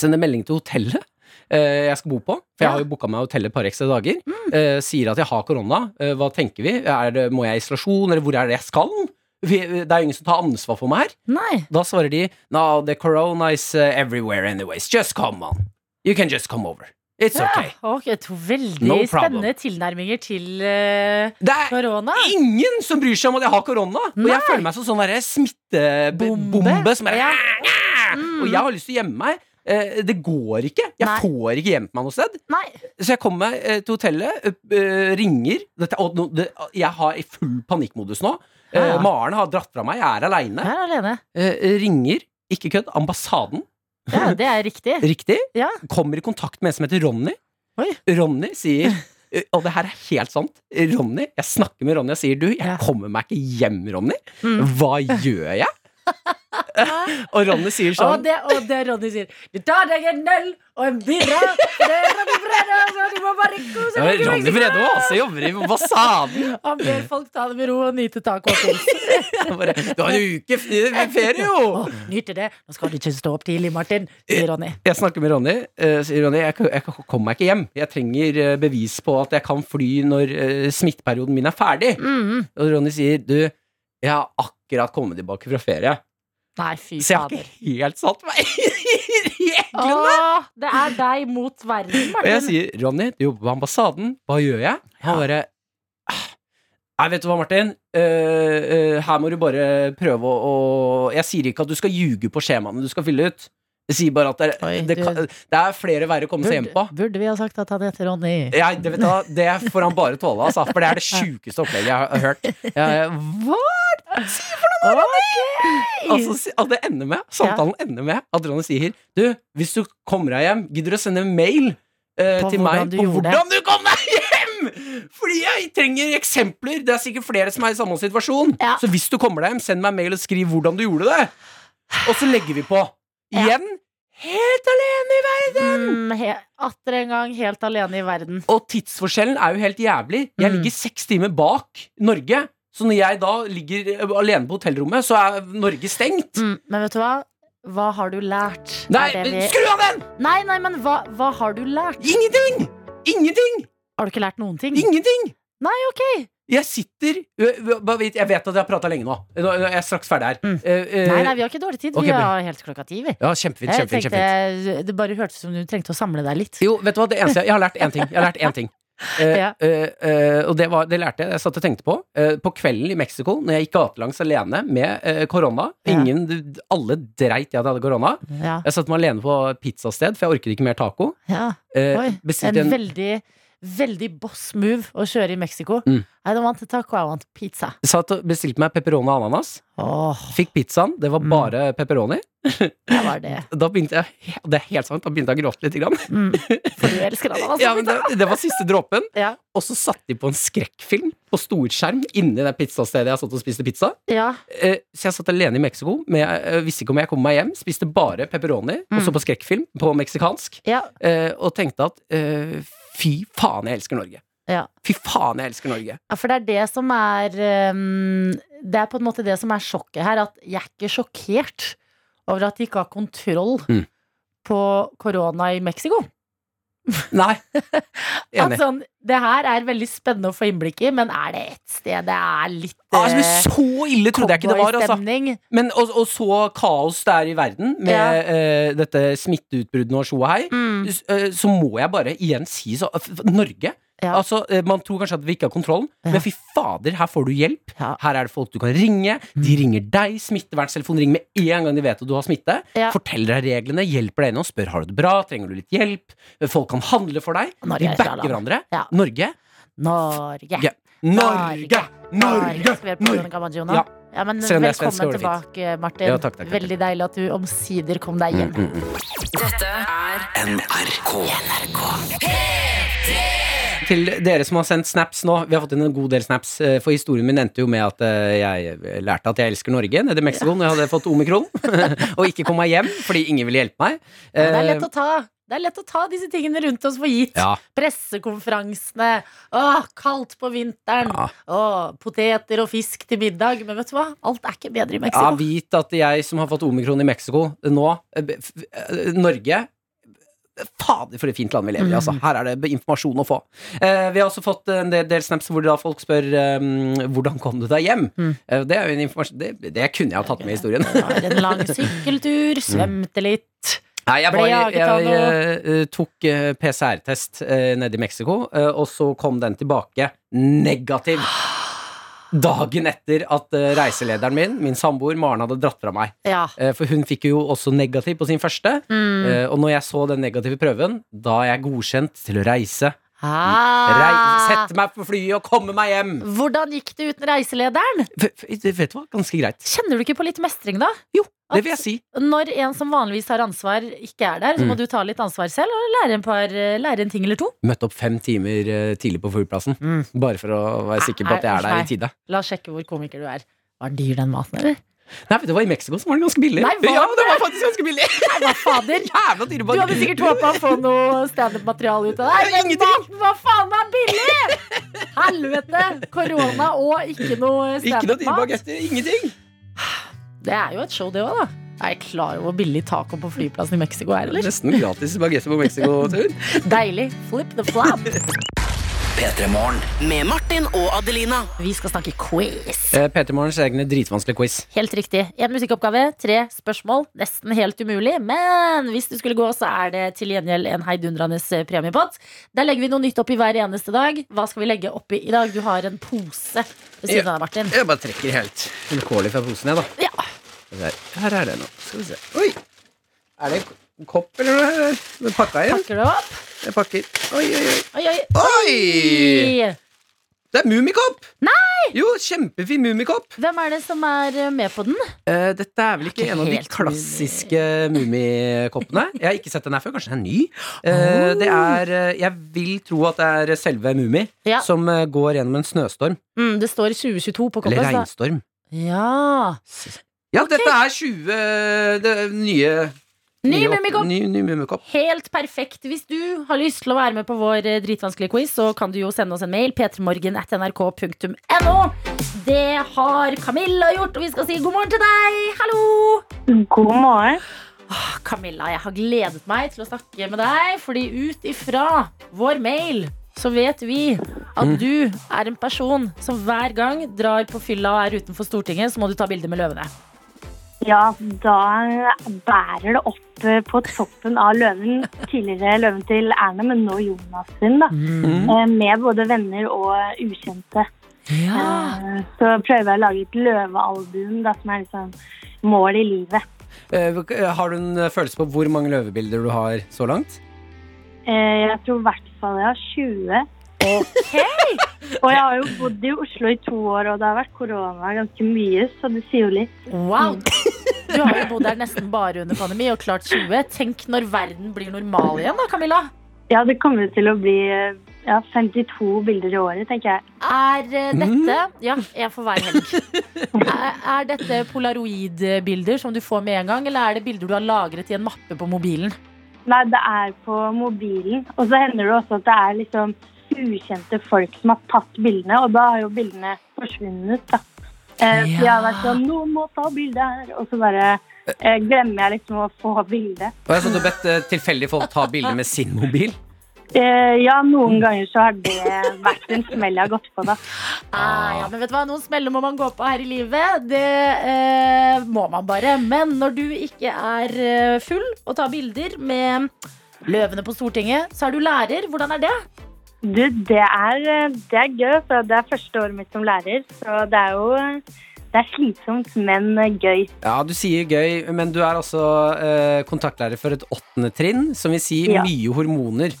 sender melding til hotellet. eh, Jeg skal bo på, for jeg
Ja. Mm.
har jo booka meg hotell et par ekstra dager. Eh, sier at jeg har korona. Eh, hva tenker vi? Er det, må jeg i isolasjon, eller hvor er det jeg skal? Vi, det er jo ingen som tar ansvar for meg her.
Nei.
Da svarer de No, the corona is eh, everywhere anyways. Just come on. You can just come over. It's okay.
Ja, ok, to veldig
No problem.
spennende tilnærminger til eh,
Det er
korona.
ingen som bryr seg om at jeg har korona! Og
Nei.
jeg føler meg som sånn derre
Bombe.
smittebombe som er sånn,
Ja. Mm.
Og jeg har lyst til å gjemme meg. Eh, Det går ikke. Jeg
Nei.
får ikke gjemt meg noe sted.
Nei.
Så jeg kommer meg eh, til hotellet, ø- ø, ringer Dette, og, nå- det, jeg har i full panikkmodus nå.
Ja, ja.
Eh, Maren har dratt fra meg, jeg er
Jeg
aleine. Eh,
er alene.
Ringer, ikke kødd, ambassaden.
Ja, det er riktig.
Riktig.
Ja.
Kommer i kontakt med en som heter Ronny.
Oi.
Ronny sier og det her er helt sant. Ronny, Jeg snakker med Ronny og sier du, jeg
Ja.
kommer meg ikke hjem, Ronny.
Mm.
Hva gjør jeg? og Ronny sier
Og
sånn
det, og det Ronny sier. Du tar deg en øl og en birra. Det er Ronny Brede, så du må bare kose
«Ja,
deg.
Ronny Brede også jobber i ambassaden.
Han ber folk ta det med ro og nyte taco og pils.
Han bare, Du har en uke f- ferie, jo! Eh.
Å, Nyte det. Nå skal du ikke stå opp tidlig, Martin, sier Ronny.
Jeg snakker med Ronny. eh, sier Ronny, jeg, kan- jeg kan- kommer meg ikke hjem. Jeg trenger eh, bevis på at jeg kan fly når eh, smitteperioden min er ferdig.
Mm-hmm.
Og Ronny sier du, jeg har akkurat kommet tilbake fra ferie.
Nei, fy
Så jeg har
fader.
ikke helt satt meg i reglene.
Åh, det er deg mot verden,
Og jeg
Martin.
sier, Ronny, du jobber på ambassaden. Hva gjør jeg? Han bare «Ah, Nei, vet du hva, Martin? Eh, eh, her må du bare prøve å, å Jeg sier ikke at du skal ljuge på skjemaene du skal fylle ut. Jeg sier bare at det, er-
Oi,
det,
du-
kan, det er flere veier å komme seg hjem på.
Burde, burde vi ha sagt at han heter Ronny?
Ja, det, vet du, hva, det får han bare tåle, altså, for det er det sjukeste opplegget jeg har hørt. Jeg, hva er det du sier for noe, Ronny? Altså, si- at det ender med, samtalen ender med at Ronny sier Du, hvis du kommer deg hjem, gidder du å sende en mail eh,
På
til
hvordan
meg
du
på
gjorde det.»
hvordan du kom deg hjem? Fordi jeg trenger eksempler. Det er sikkert flere som er i samme situasjon.
Ja.
Så hvis du kommer deg hjem, send meg en mail og skriv hvordan du gjorde det. Og så legger vi på. Igjen. Helt alene i verden.
Mm, he- Atter en gang helt alene i verden.
Og tidsforskjellen er jo helt jævlig. Jeg
Mm.
ligger seks timer bak Norge. Så når jeg da ligger eh, alene på hotellrommet, så er Norge stengt.
Mm, men vet du hva? Hva har du lært? Er
Nei,
det
men
vi-
skru av den!
nei, nei, men hva, hva har du lært?
Ingenting! Ingenting!
Har du ikke lært noen ting?
Ingenting!
Nei, ok.
Jeg sitter Ø, ø, bare vit- Jeg vet at jeg har prata lenge nå. Nå nå er jeg straks ferdig her.
Mm.
Ø, ø,
Nei, nei, vi har ikke dårlig tid.
ok,
vi
bra.
har helt klokka ti, vi.
Ja, kjempefint.
Jeg
kjempefint, kjempefint.
tenkte, det bare hørtes ut som du trengte å samle deg litt.
Jo, vet du hva, det eneste Jeg har lært én ting. Jeg har lært én ting. Eh,
Ja.
eh, eh, og det, var, det lærte jeg. Jeg satt og tenkte på. eh, på kvelden i Mexico, når jeg gikk gatelangs alene med eh, korona
Ja.
Ingen, Alle dreit i at jeg hadde korona.
Ja.
Jeg satte meg alene på et pizzasted, for jeg orket ikke mer taco.
ja.
Eh,
Oi. En
bestilte en,
veldig, veldig boss move å kjøre i Mexico.
Mm.
I don't want taco, I want pizza.
satt og bestilte meg pepperoni og ananas.
Åh,
Fikk pizzaen. Det var
Mm.
bare pepperoni.
det var det.
Da begynte jeg og det er helt sant, da begynte jeg å gråte litt. Grann.
Mm. For du elsker han, altså.
Ja, men det, det var siste dråpen.
Ja.
Og så satte de på en skrekkfilm på storskjerm inni det pizzastedet jeg satt og spiste pizza.
Ja.
Eh, Så jeg satt alene i Mexico, men jeg eh, visste ikke om jeg kom meg hjem. Spiste bare pepperoni,
Mm.
og så på skrekkfilm på meksikansk.
Ja.
eh, Og tenkte at eh, fy faen, jeg elsker Norge.
Ja.
Fy faen, jeg elsker Norge.
Ja, for det er det som er ehm, Det er på en måte det som er sjokket her, at jeg er ikke sjokkert over at de ikke har kontroll
Mm.
på korona i Mexico.
Nei.
At
Enig.
sånn, det her er veldig spennende å få innblikk i, men er det ett sted det er litt
Ah, men
eh,
så ille trodde jeg ikke det var, altså.
cowboystemning?
Men, og, og så kaos det er i verden med
Ja.
eh, dette smitteutbruddet og tjo og hei.
Mm.
s- eh, så må jeg bare igjen si så, f- f- Norge.
Ja.
Altså, eh, man tror kanskje at vi ikke har kontrollen,
Ja.
men fy fader, her får du hjelp.
Ja.
Her er det folk du kan ringe. De
Mm.
ringer deg. Smitteverntelefonen ringer med en gang de vet at du har smitte.
Ja.
Forteller deg reglene, hjelper deg innom, spør har du det bra, trenger du litt hjelp. Folk kan handle for deg.
Norge er
de
et bra
backer
land.
hverandre.
Ja.
Norge.
Norge.
Ja. Norge! Norge!
Skal vi høre på Veronica
Norge!
Maggio nå?
Ja.
Ja, men
Selv om jeg er
velkommen
svensk, så går det fint.
tilbake, Martin.
Ja, takk, takk, takk. Mm,
Veldig deilig at du omsider kom deg hjem.
NRK. NRK.
Til dere som har sendt snaps nå. Vi har fått inn en god del snaps, eh, for historien min endte jo med at eh, jeg lærte at jeg elsker Norge nede i Mexico når jeg hadde fått omikron, og ikke kom meg hjem fordi ingen ville hjelpe meg. Eh,
Ja, det er lett å ta. Det er lett å ta disse tingene rundt oss for gitt.
Ja.
Pressekonferansene. Åh, kaldt på vinteren.
Ja.
Åh, poteter og fisk til middag. Men vet du hva? Alt er ikke bedre i
Ja,
Mexico.
vit at jeg som har fått omikron i Mexico nå eh, be- f- eh, Norge eh, Fader, for et fint land vi lever i. Altså.
Mm.
Her er det be- informasjon å få. Eh, vi har også fått en del, del snaps hvor da folk spør eh, hvordan kom du deg hjem.
Mm.
Eh, det er jo en informasjon det, det kunne jeg ha tatt med i historien.
Det var en lang
Mm.
sykkeltur, svømte litt.
Nei, jeg,
Ble
var, jeg,
jaget av
eh, tok eh, PCR-test eh, nede i Mexico, eh, og så kom den tilbake negativ. Dagen etter at eh, reiselederen min, min samboer Maren, hadde dratt fra meg.
Ja.
Eh, For hun fikk jo også negativ på sin første.
Mm.
Eh, Og når jeg så den negative prøven, da er jeg godkjent til å reise. Rei
Ah.
sette meg på flyet og komme meg hjem!
Hvordan gikk det uten reiselederen?
F f- vet du hva? Ganske greit.
Kjenner du ikke på litt mestring, da?
Jo, det vil jeg si.
Når en som vanligvis har ansvar, ikke er der, så må
Mm.
du ta litt ansvar selv og lære en, par, lære en ting eller to.
Møtte opp fem timer eh, tidlig på flyplassen.
Mm.
Bare for å være sikker på at jeg er der i tide.
La oss sjekke hvor komiker du er. Var den dyr, den maten, eller?
Nei, vet du hva, i Mexico så var den ganske billig.
Nei, var
ja, det var faktisk ganske billig
Nei, hva fader?
Jævla dyre
Du hadde sikkert håpa å få noe standup-materiale ut av det. her, men maten var faen meg billig! Helvete! Korona og ikke noe
Ikke noe dyre
standup-mat.
bagetter. Ingenting.
Det er jo et show, det òg, da. Er jeg klar over hvor billig taco på flyplassen i Mexico er, eller?
Nesten gratis bagetter på Mexico-tur.
Deilig. Flip the flap.
P3 Morgen.
Med Martin og Adelina.
Vi skal snakke quiz.
Eh, Peter Morgens egne dritvanskelige quiz.
Helt riktig. Én musikkoppgave, tre spørsmål. Nesten helt umulig, men hvis du skulle gå, så er det til gjengjeld en heidundrende eh, premiepott. Der legger vi noe nytt oppi hver eneste dag. Hva skal vi legge oppi i dag? Du har en pose ved siden av deg, Martin.
Jeg bare trekker helt vilkårlig fra posen, jeg, da.
Ja.
Der. Her er det nå. Skal vi se. Oi! Er det en kopp eller noe her? Den pakka igjen?
Pakker du opp?
Jeg pakker. Oi, oi, oi.
Oi, oi.
Oi! Det er Mummikopp! Nei! Jo, kjempefin Mummikopp.
Hvem er det som er eh, med på den?
Eh, dette er vel ikke
Ikke
en av de
helt
klassiske Mummikoppene. Jeg har ikke sett den her før. Kanskje den er ny? Eh, det er eh, Jeg vil tro at det er selve Mummi
Ja.
som eh, går gjennom en snøstorm.
Mm, det står 2022 på
Eller
koppen. så-
regnstorm.
Ja.
Ja, dette er 20 det er nye
Ny
nye opp-
Mummikopp!
Ny, ny Mummikopp.
Helt perfekt. Hvis du har lyst til å være med på vår eh, dritvanskelige quiz, så kan du jo sende oss en mail. p3morgen.nrk.no. Det har Camilla gjort, og vi skal si god morgen til deg. Hallo!
God morgen.
Ah, Camilla, jeg har gledet meg til å snakke med deg, fordi ut ifra vår mail så vet vi at du er en person som hver gang drar på fylla og er utenfor Stortinget, så må du ta bilde med løvene.
Ja, da bærer det opp eh, på toppen av løven. Tidligere løven til Erna, men nå Jonas sin, da. Eh, Med både venner og ukjente. Eh, Så prøver jeg å lage et løvealbum, da, som er liksom mål i livet.
Eh, Har du en eh, følelse på hvor mange løvebilder du har så langt?
Eh, Jeg tror i hvert fall jeg har 20. Og jeg har jo bodd i Oslo i to år, og det har vært korona ganske mye, så det sier jo litt.
Wow! Mm. Du har jo bodd her nesten bare under pandemi og klart 20. Tenk når verden blir normal igjen, da, Camilla.
Ja, det kommer til å bli eh, ja, 52 bilder i året, tenker jeg.
Er eh, dette Ja, en for hver helg. Er, er dette polaroidbilder som du får med en gang, eller er det bilder du har lagret i en mappe på mobilen?
Nei, det er på mobilen. Og så hender det også at det er liksom ukjente folk som har tatt bildene, og da har jo bildene forsvunnet, da. Eh, så Jeg har vært sånn Noen må ta bilde her! Og så bare eh, glemmer jeg liksom å få bildet.
Og jeg sånn du har bedt eh, tilfeldige folk ta bilder med sin mobil?
Eh, ja, noen ganger så har det vært en smell jeg har gått på, da.
Ah, ja, men vet du hva, Noen smeller må man gå på her i livet. Det eh, må man bare. Men når du ikke er eh, full og tar bilder med løvene på Stortinget, så er du lærer. Hvordan er det?
Du, det er, eh, det er gøy, for det er første året mitt som lærer, så det er jo eh, det er slitsomt, men eh, gøy.
Ja, du sier gøy, men du er altså eh, kontaktlærer for et åttende trinn, som vil si
Ja.
mye hormoner.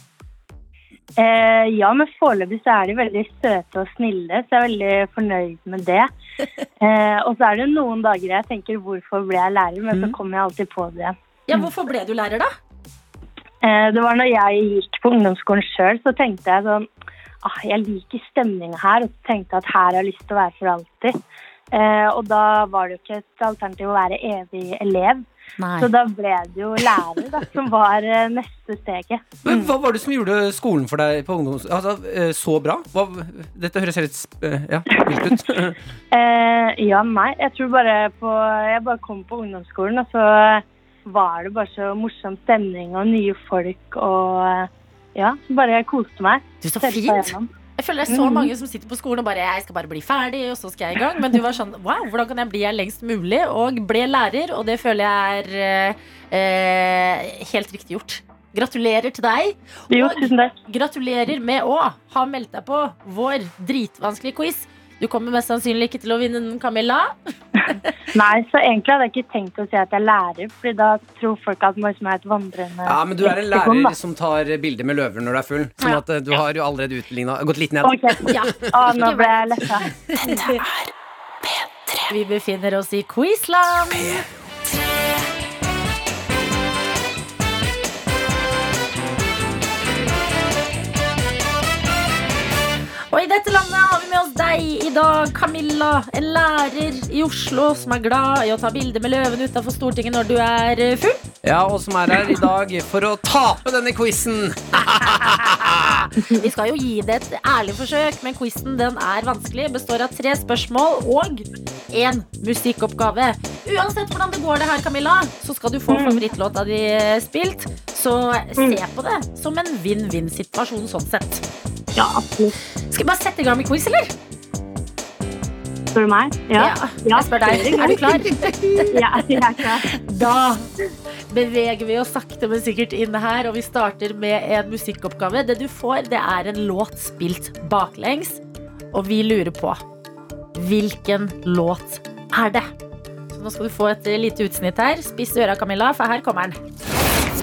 Eh, ja, men foreløpig så er de veldig søte og snille, så jeg er veldig fornøyd med det. Eh, og så er det noen dager jeg tenker 'hvorfor ble jeg lærer', men så kommer jeg alltid på det igjen.
Ja, Hvorfor ble du lærer, da?
Eh, det var når jeg gikk på ungdomsskolen sjøl, så tenkte jeg sånn ah, Jeg liker stemninga her, og så tenkte jeg at her har jeg lyst til å være for alltid. Eh, og da var det jo ikke et alternativ å være evig elev, så da ble det jo lærer, da, som var eh, neste steget.
Men hva var det som gjorde skolen for deg på ungdoms... Altså, eh, så bra? Hva, dette høres helt sp- eh, ja, vilt ut.
Eh, ja, nei. Jeg tror bare på Jeg bare kom på ungdomsskolen, og så var det bare så morsom stemning og nye folk og eh, Ja, bare koste meg.
Du, så
Surfa
fint.
gjennom.
Jeg føler det er så
Mm.
mange som sitter på skolen og bare Jeg skal bare bli ferdig, og så skal jeg i gang. Men du var sånn Wow, hvordan kan jeg bli her lengst mulig? Og ble lærer, og det føler jeg er eh, eh, helt riktig gjort. Gratulerer til deg.
Jo,
Og-
tusen takk.
Gratulerer med å ha meldt deg på vår dritvanskelige quiz. Du kommer mest sannsynlig ikke til å vinne den, Camilla.
Nei, så egentlig hadde jeg ikke tenkt å si at jeg er lærer, Fordi da tror folk at man liksom er et vandrende
Ja, men du er en
leksikon, da.
lærer som tar bilder med løver når du er full. Sånn at eh, du har jo allerede utlignet Gått litt ned.
Ok.
Ja.
Å, nå ble jeg letta.
Vi befinner oss i Quizland. Og i dette landet har vi med oss deg i dag, Camilla. En lærer i Oslo som er glad i å ta bilder med løvene utafor Stortinget når du er eh, full.
Ja, og som er her i dag for å tape denne quizen.
Vi skal jo gi det et ærlig forsøk, men quizen den er vanskelig. Består av tre spørsmål og én musikkoppgave. Uansett hvordan det går det her, Camilla, så skal du få favorittlåta di eh, spilt. Så se på det som en vinn-vinn-situasjon sånn sett.
Ja, absolutt.
Skal vi bare sette i gang med quiz, eller?
Spør du meg? Ja.
Jeg spør deg. Er du klar?
ja jeg er klar.
Da beveger vi oss sakte, men sikkert inn her, og vi starter med en musikkoppgave. Det du får, det er en låt spilt baklengs, og vi lurer på hvilken låt er det? Så nå skal du få et eh, lite utsnitt her. Spiss øra, Camilla, for her kommer den.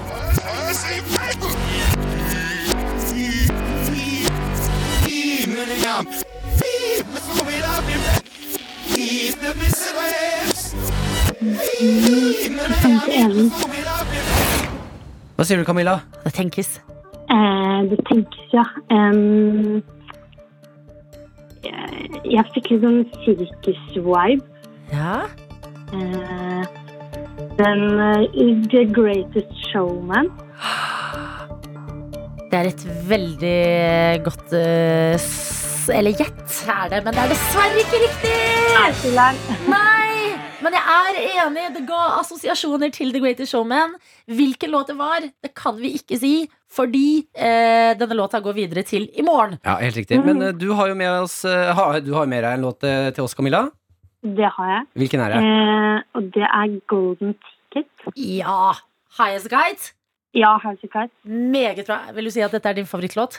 Hva sier du, Camilla?
Det tenkes.
Eh, det tenkes, ja. Em, jeg, jeg fikk litt sånn sirkus-vibe.
Ja.
Eh, den eh, The Greatest Showman.
Det er et veldig godt eh, s Eller gjett er det, men det er dessverre ikke riktig! Nei! Men jeg er enig. Det ga assosiasjoner til The Greatest Showman. Hvilken låt det var, det kan vi ikke si, fordi eh, denne låta går videre til i morgen.
Ja, helt riktig. Men eh, du har jo med oss eh, ha, Du har jo med deg en låt eh, til oss, Camilla.
Det har jeg.
Hvilken er det?
Eh, og det er golden ticket.
Ja! Highest Guide.
Ja, House of Cards.
Meget bra. Vil du si at dette er din favorittlåt?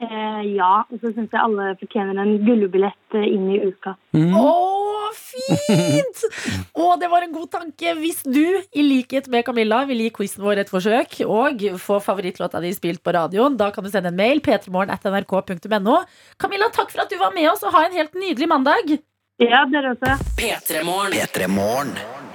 Eh, ja, og så syns jeg alle fortjener en gullbillett eh, inn i uka.
Å, fint! Å, det var en god tanke. Hvis du, i likhet med Camilla, vil gi quizen vår et forsøk og få favorittlåta di spilt på radioen, da kan du sende en mail. p3morgen.nrk.no. Camilla, takk for at du var med oss, og ha en helt nydelig mandag.
Ja, dere også.
P3-morgen
P3morgen.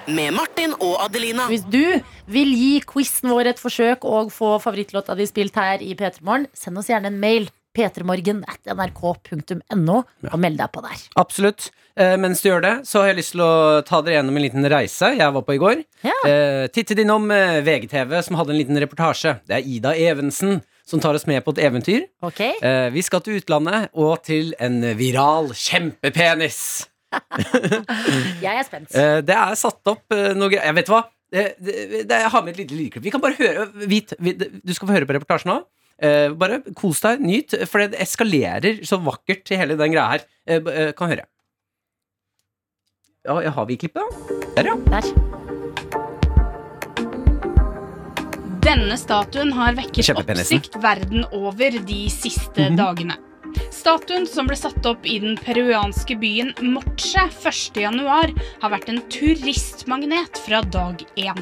med Martin og Adelina.
Hvis du vil gi quizen vår et forsøk og få favorittlåta di spilt her i P3 Morgen, send oss gjerne en mail. p3morgen.nrk.no, og meld deg på der.
Absolutt. Eh, mens du gjør det, så har jeg lyst til å ta dere gjennom en liten reise jeg var på i går.
Ja.
Eh, tittet innom eh, VGTV, som hadde en liten reportasje. Det er Ida Evensen som tar oss med på et eventyr.
Ok?
Eh, vi skal til utlandet og til en viral kjempepenis.
Jeg er spent.
Eh, det er satt opp eh, noe greier Jeg vet hva. Eh, det, det, jeg har med et lite lydklipp. Vi kan bare høre vit, vi, Du skal få høre på reportasjen nå. Eh, bare kos deg, nyt, for det eskalerer så vakkert i hele den greia her. Eh, b- eh, kan høre. Ja, ja, har vi klippet, da? Der, ja.
Der.
Denne statuen har vekket
Kjempepenisen.
oppsikt verden over de siste dagene. Statuen som ble satt opp i den peruanske byen Morche 1.1, har vært en turistmagnet fra dag én.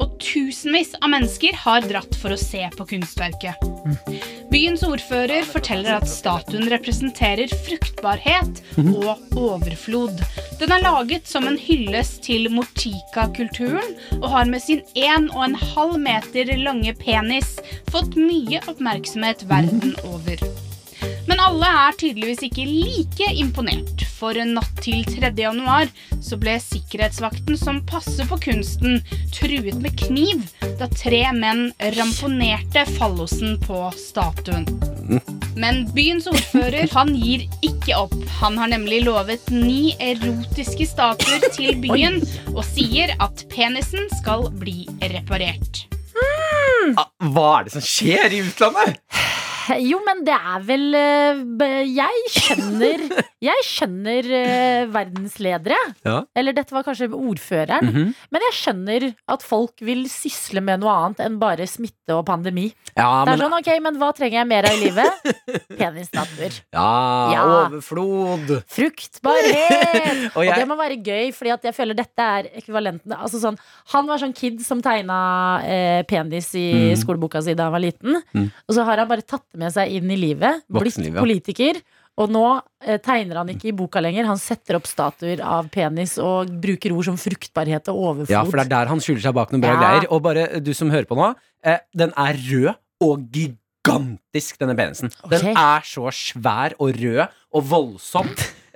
Og tusenvis av mennesker har dratt for å se på kunstverket. Byens ordfører forteller at statuen representerer fruktbarhet og overflod. Den er laget som en hyllest til Mortica-kulturen og har med sin 1,5 meter lange penis fått mye oppmerksomhet verden over. Men alle er tydeligvis ikke like imponert, for en natt til 3. januar så ble sikkerhetsvakten som passer på kunsten, truet med kniv da tre menn ramponerte fallosen på statuen. Men byens ordfører han gir ikke opp. Han har nemlig lovet ni erotiske statuer til byen og sier at penisen skal bli reparert.
Ah, Hva er det som skjer i utlandet?
Eh, Jo, men det er vel eh, b- Jeg skjønner Jeg skjønner eh, verdensledere.
Ja. Mhm.
Eller dette var kanskje ordføreren. Men jeg skjønner at folk vil sysle med noe annet enn bare smitte og pandemi.
Ja,
det er
men,
sånn, ok, men Hva trenger jeg mer av i livet? Penisstatuer.
ja,
Ja.
overflod.
Fruktbarhet!
Og
og,
jeg-
det må være gøy, fordi at jeg føler dette er ekvivalenten altså sånn, Han var sånn kid som tegna eh, penis i skoleboka si da han var liten.
Mm.
Og så har han bare tatt det med seg inn i livet, blitt
Voksenlivet, ja.
politiker. Og nå eh, tegner han ikke i boka lenger. Han setter opp statuer av penis og bruker ord som fruktbarhet og overflod.
Ja, for det er der han skjuler seg bak noen bra
Ja.
greier. Og bare du som hører på nå, eh, den er rød og gigantisk, denne penisen.
Ok.
Den er så svær og rød og voldsom.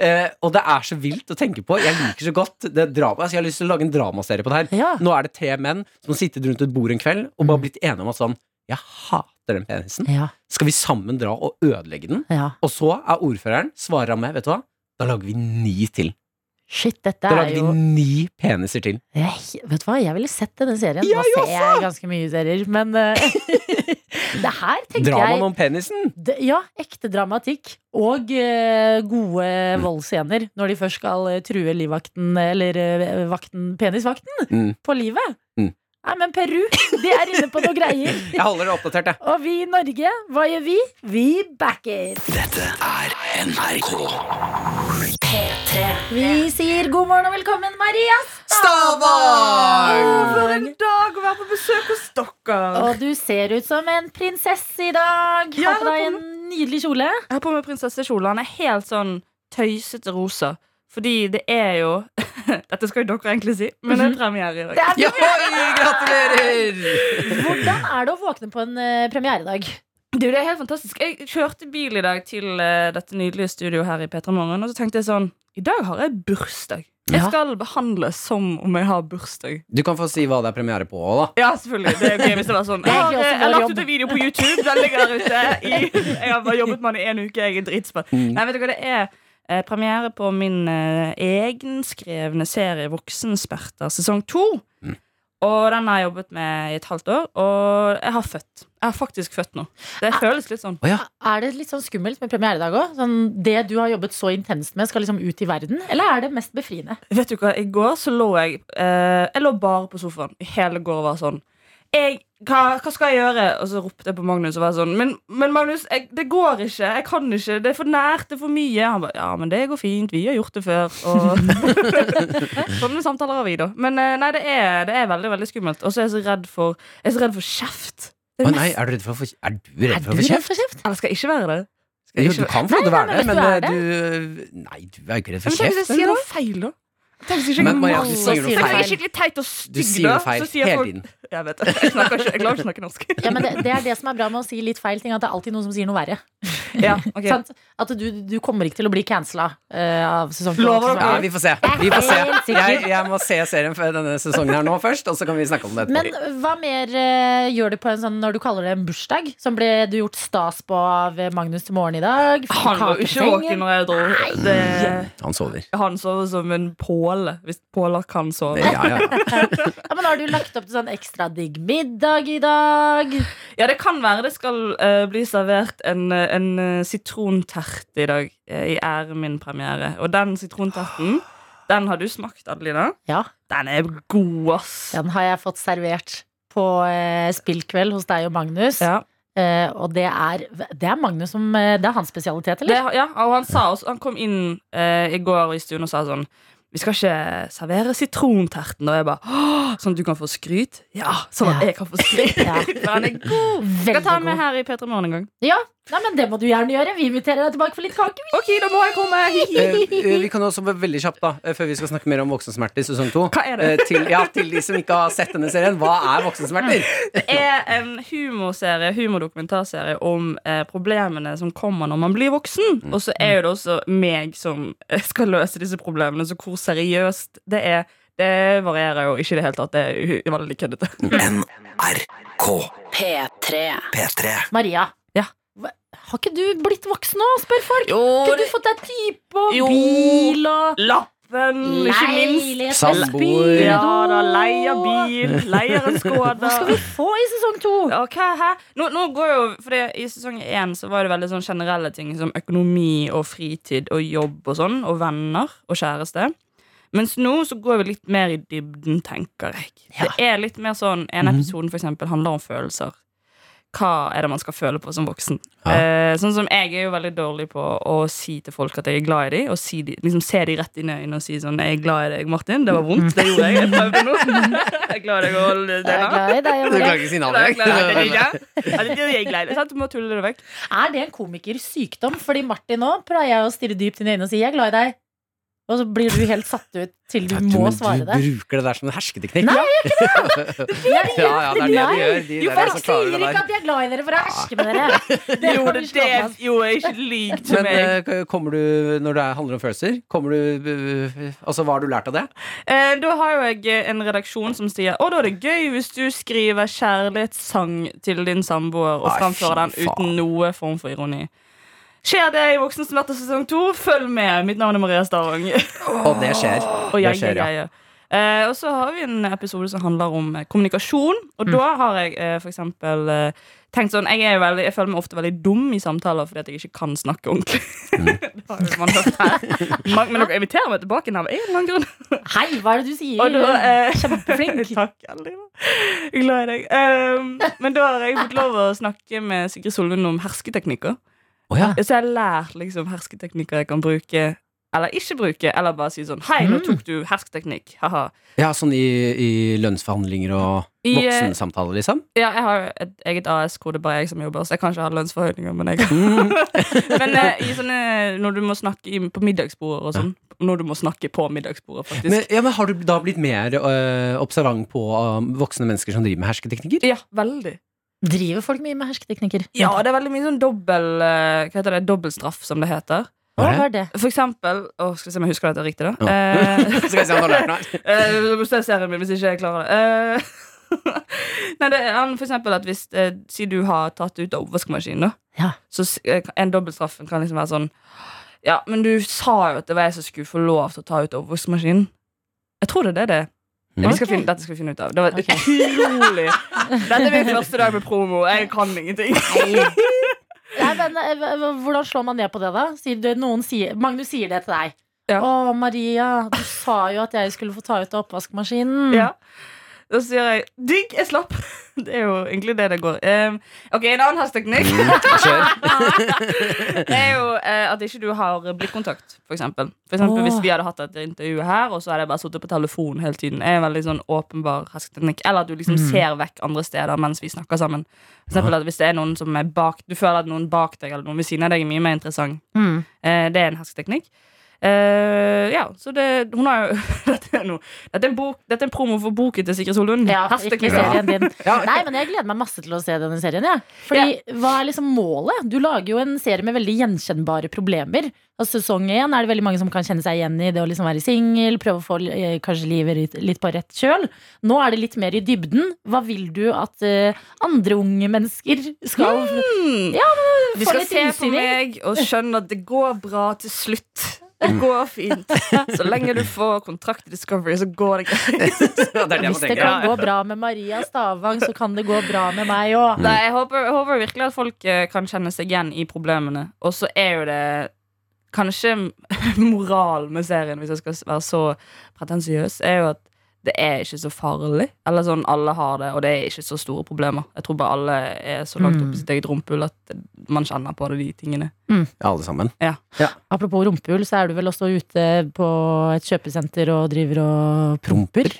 Eh, og det er så vilt å tenke på. Jeg liker så godt det drama. Altså, jeg har lyst til å lage en dramaserie på det her.
Ja. Mm.
Nå er det tre menn som har sittet rundt et bord en kveld og bare blitt enige om at sånn Jeg hater den penisen.
Ja,
Skal vi sammen dra og ødelegge den?
ja.
Og så er ordføreren, svarer han med, vet du hva? Da lager vi ni til.
Shit, dette
Da
er
lager
jo
vi ni peniser til.
jeg, Vet du hva, jeg ville sett denne serien.
Ja,
Nå ser jeg ganske mye serier, men eh, Det her tenker jeg
Dramaen om penisen!
Det, ja, ekte dramatikk og eh, gode voldsscener når de først skal eh, true livvakten, eller eh, vakten, penisvakten,
Mm.
på livet.
Mm.
Nei, men Peru, de er inne på noe greier.
Jeg holder det oppdatert, jeg.
Og vi i Norge, hva gjør vi? Vi backer!
Dette er NRK.
Vi sier god morgen og velkommen, Maria!
Stavang!
For en
dag å være på besøk hos dere!
Og du ser ut som en prinsesse i dag.
Ja,
Har på deg en nydelig kjole.
Jeg har på meg prinsessekjole. Han er helt sånn tøysete rosa. Fordi det er jo Dette skal jo dere egentlig si, men det er premiere i dag.
Det er
Ja, oi, gratulerer!
Hvordan er det å våkne på en eh, premieredag?
Du, det er helt fantastisk. Jeg kjørte bil i dag til eh, dette nydelige studioet her i Petra Morgen, og så tenkte jeg sånn I dag har jeg bursdag. Jeg
Ja.
skal behandles som om jeg har bursdag.
Du kan få si hva det er premiere på òg, da.
Ja, selvfølgelig. Det er jo gøy hvis det var sånn.
er
Jeg har,
egentlig
eh,
også
jeg har
vår
lagt
jobb.
ut en video på YouTube. Den ligger der ute. I, jeg har bare jobbet med den i en uke. Jeg er dritspent.
Mm.
Nei, vet du hva det er? Eh, premiere på min eh, egenskrevne serie Voksensperter sesong to. Og den har jeg jobbet med i et halvt år, og jeg har født. Jeg har faktisk født nå. Det føles litt sånn.
Er det litt sånn skummelt med premieredag òg? Sånn, det du har jobbet så intenst med, skal liksom ut i verden? Eller er det mest befriende?
Vet du hva, i går så lå jeg eh, Jeg lå bare på sofaen Hele går var sånn jeg, hva, hva skal jeg gjøre? Og så ropte jeg på Magnus og var sånn Men, men Magnus, jeg, det går ikke Jeg kan ikke, det er for nært, det er for mye Han bare, ja, men det går fint, vi har gjort det før og... Sånne samtaler har vi da Men eh, nei, det er, det er veldig, veldig skummelt Og så er jeg så redd for Jeg er så redd for kjeft Det
Å
er
nei,
mest-
er du redd for å få kjeft? Er du redd
Er
for å
du
få
redd
kjeft?
for kjeft?
Eller skal jeg ikke være det? Skal
Jo,
jeg
du
ikke...
kan få lov
Nei,
til å være
nei,
det,
men
men
hvis du
eh, du Nei, du er jo ikke redd
Men
for
tenk hvis
kjeft.
jeg sier noe feil da Tenk hvis jeg ikke
Men Maria, du
maler.
sier noe
Hvis jeg er
feil.
skikkelig teit og
Du
stygg
sier
da
noe feil
så sier
hele
folk-
tiden.
Jeg vet det. Jeg, snakker ikke, jeg klarer ikke å snakke norsk.
Ja, men det, det er det som er bra med å si litt feil ting, at det er alltid noen som sier noe verre.
Ja, ok.
Sant? At du, du kommer ikke til å bli cancella eh, av sesong to.
Lover
Ja, vi får se. Vi får se.
Helt sikkert.
Jeg, jeg må se serien før denne sesongen her nå først, og så kan vi snakke om det
Men
etterpå.
hva mer eh, gjør du på en sånn når du kaller det en bursdag? Som ble du gjort stas på av Magnus til morgen i dag? Fikk
Han var jo ikke
kakesengen.
våken når jeg dro. Det,
Han sover.
han sover som en påle, hvis påler kan sove.
Ja, ja.
Ja, men har du lagt opp til sånn ekstra digg middag i dag?
Ja, det kan være det skal eh, bli servert en, eh, en eh, sitrontert i dag eh, i ære min premiere. Og den sitronterten, den har du smakt, Adelina.
Ja,
Den er god, ass.
den har jeg fått servert på eh, spillkveld hos deg og Magnus.
Ja.
Eh, og det er, det er Magnus som eh, Det er hans spesialitet, eller?
Det, ja, og han, sa også, han kom inn eh, i går i stuen og sa sånn Vi skal ikke servere sitronterten. Og jeg bare «Åh, Sånn at du kan få skryt? Ja, sånn at
Ja.
jeg kan få skryt.
Ja.
For han er god. Skal
Veldig
ta han med
god.
her i P3 Morgen en gang.
Nei, men det må du gjerne gjøre. Vi inviterer deg tilbake for litt kake.
Ok, da må jeg komme.
Eh, eh, vi kan også være veldig kjapt da eh, Før vi skal snakke mer om voksensmerter i sesong 2
Hva er det?
til, ja, til de som ikke har sett denne serien Hva er voksensmerter?
Det er en humorserie, humordokumentarserie om eh, problemene som kommer når man blir voksen.
Mm.
Og så er jo det også meg som eh, skal løse disse problemene, så hvor seriøst det er, det varierer jo ikke i det hele tatt. Det er u- veldig køddete.
NRK
P3.
P3.
Maria,
Ja.
hva- har ikke du blitt voksen nå, spør folk?
Jo,
Har ikke du fått deg type og
Jo.
bil og
lappen, ikke minst.
leilighet og
Samboer.
speedo?
Ja da, leier bil, leier en
Hva skal vi
Skoda.
få i sesong to?
Ja, hva, hæ? Nå, nå går jo, fordi I sesong én så var det veldig sånn generelle ting som økonomi og fritid og jobb og sånn, og venner og kjæreste. Mens nå så går vi litt mer i dybden, tenker jeg. Det er litt mer sånn, En
Mhm.
episode for eksempel, handler om følelser. Hva er det man skal føle på som voksen?
Ja.
Eh, sånn som Jeg er jo veldig dårlig på å si til folk at jeg er glad i dem. Og si de, liksom se de rett inn i øynene og si sånn 'Jeg er glad i deg, Martin'. Det var vondt. Det gjorde jeg. Jeg prøvde nå. Jeg er glad i deg, og det
Jeg er glad i deg,
Du
Maria.
klarer ikke signalet
Nei,
jeg.
nei, nei, det er ikke. Ja, det er jeg glad i. Sant? Du må tulle det vekk.
Er det en komikers sykdom? Fordi Martin nå pleier jeg å stirre dypt inn i øynene og si 'jeg er glad i deg'. Og så blir du helt satt ut til du
Ja,
må
men
svare det.
Du bruker det der som en hersketeknikk
Nei,
jeg gjør ikke det Ja, ja, det er det
Nei.
de gjør De
Jo,
der
folk
som
sier
klarer
ikke
det der Ah.
at de er glad i dere for å herske med dere. Det kan
Jo, det
vi slå
er
fast.
jo ikke lik til
men
meg.
eh, kommer du, når det handler om følelser Kommer du, eh, altså hva har du lært av det?
Eh, da har jo jeg eh, en redaksjon som sier Å, da er det gøy hvis du skriver kjærlighetssang til din samboer og
Nei,
framfører den
fy faen.
uten noe form for ironi. Skjer det i Voksen smerte sesong to? Følg med. Mitt navn er Maria Stavang.
Og det skjer
Og
Det
jeg,
skjer, ja.
jeg, jeg. Eh, og så har vi en episode som handler om eh, kommunikasjon.
Mm.
Og da har jeg eh, for eksempel eh, tenkt sånn jeg, er jo veldig, jeg føler meg ofte veldig dum i samtaler fordi at jeg ikke kan snakke ordentlig.
Mm.
det har jo man hørt her. Man, men dere inviterer meg tilbake av en eller annen grunn.
Hei, hva er det du
Og
sier?
da, eh,
Kjempeflink.
Takk, Adelina. Jeg er glad i deg. Eh, men da har jeg fått lov å snakke med Sigrid Solund om hersketeknikker.
Åja,
Ja, Så jeg har lært liksom hersketeknikker jeg kan bruke eller ikke bruke, eller bare si sånn Hei,
Mm.
nå tok du hersketeknikk. Haha.
ja, sånn i, i lønnsforhandlinger og
I, eh,
voksensamtaler liksom
Ja, jeg har jo et eget AS hvor det bare er jeg som jobber, så jeg kan ikke ha lønnsforhøyninger. Men, jeg
Mm.
men eh, i sånne, når du må snakke i, på middagsbordet og sånn Når du må snakke på middagsbordet, faktisk.
men, ja, men har du da blitt mer øh, observant på øh, voksne mennesker som driver med hersketeknikker?
ja, veldig.
Driver folk mye med hersketeknikker?
Ja, det er veldig mye sånn dobbel eh, Hva heter det? Dobbelstraff, som det heter.
Hva var det?
For eksempel Å, skal vi se om jeg husker dette riktig, da.
Ja.
Eh,
Skal jeg se om du har lært noe?
Eh, Du må se serien min hvis ikke jeg klarer det. Eh, Nei, det er for eksempel at hvis eh, Si du har tatt ut av oppvaskmaskinen, da.
Ja.
Så s- eh, en dobbeltstraff kan liksom være sånn Ja, men du sa jo at det var jeg som skulle få lov til å ta ut oppvaskmaskinen. Jeg tror det er det det. er. Vi skal finne, dette skal vi finne ut av. Det var utrolig Dette er min første dag med promo. Jeg kan ingenting.
Nei, men eh, hva- hva- Hvordan slår man ned på det, da? Sier du, noen sier, Magnus sier det til deg.
Ja.
Å, Maria, du sa jo at jeg skulle få ta ut av oppvaskmaskinen.
Ja. Da sier jeg 'digg, jeg slapp'. Det er jo egentlig det det går. Ehm, ok, En annen hersteknikk
Mm.
Det er jo eh, at ikke du har blikkontakt, for eksempel. For eksempel
Åh.
Hvis vi hadde hatt dette intervjuet her, og så hadde jeg bare sittet på telefon hele tiden. er en veldig sånn åpenbar hersketeknikk Eller at du liksom
Mm.
ser vekk andre steder mens vi snakker sammen. For eksempel at hvis det er noen som er bak Du føler at noen bak deg eller noen ved siden av deg er mye mer interessant.
Mm.
Eh, det er en hersketeknikk. Eh, ja, så det Hun har jo Dette er noe dette er, en bok, dette er en promo for boken til Sigrid Solund.
Ja, ikke
Hersketeknikk.
serien din.
Ja.
Nei, men Jeg gleder meg masse til å se denne serien. Ja. Fordi, Hva er liksom målet? Du lager jo en serie med veldig gjenkjennbare problemer. Og sesong én er det veldig mange som kan kjenne seg igjen i det å liksom være singel, prøve å få eh, kanskje livet litt, litt på rett kjøl. Nå er det litt mer i dybden. Hva vil du at eh, andre unge mennesker skal Ja, men
De
få
skal
litt
se
innsyn
på
i.
meg og skjønne at det går bra til slutt. Det går fint. Så lenge du får kontrakt i Discovery, så går det greit.
Ja, det er det man
Hvis det
tenker.
kan gå bra med Maria Stavang, så kan det gå bra med meg òg.
Nei, jeg håper, jeg håper virkelig at folk eh, kan kjenne seg igjen i problemene. Og så er jo det kanskje moral med serien, hvis jeg skal s- være så pretensiøs, er jo at det er ikke så farlig. Eller sånn, Alle har det, og det er ikke så store problemer. Jeg tror bare alle er så langt
Mm.
oppe i sitt eget rumpehull at man kjenner på det, de tingene.
Ja, alle sammen.
Apropos rumpehull, så er du vel også ute på et kjøpesenter og driver og promper?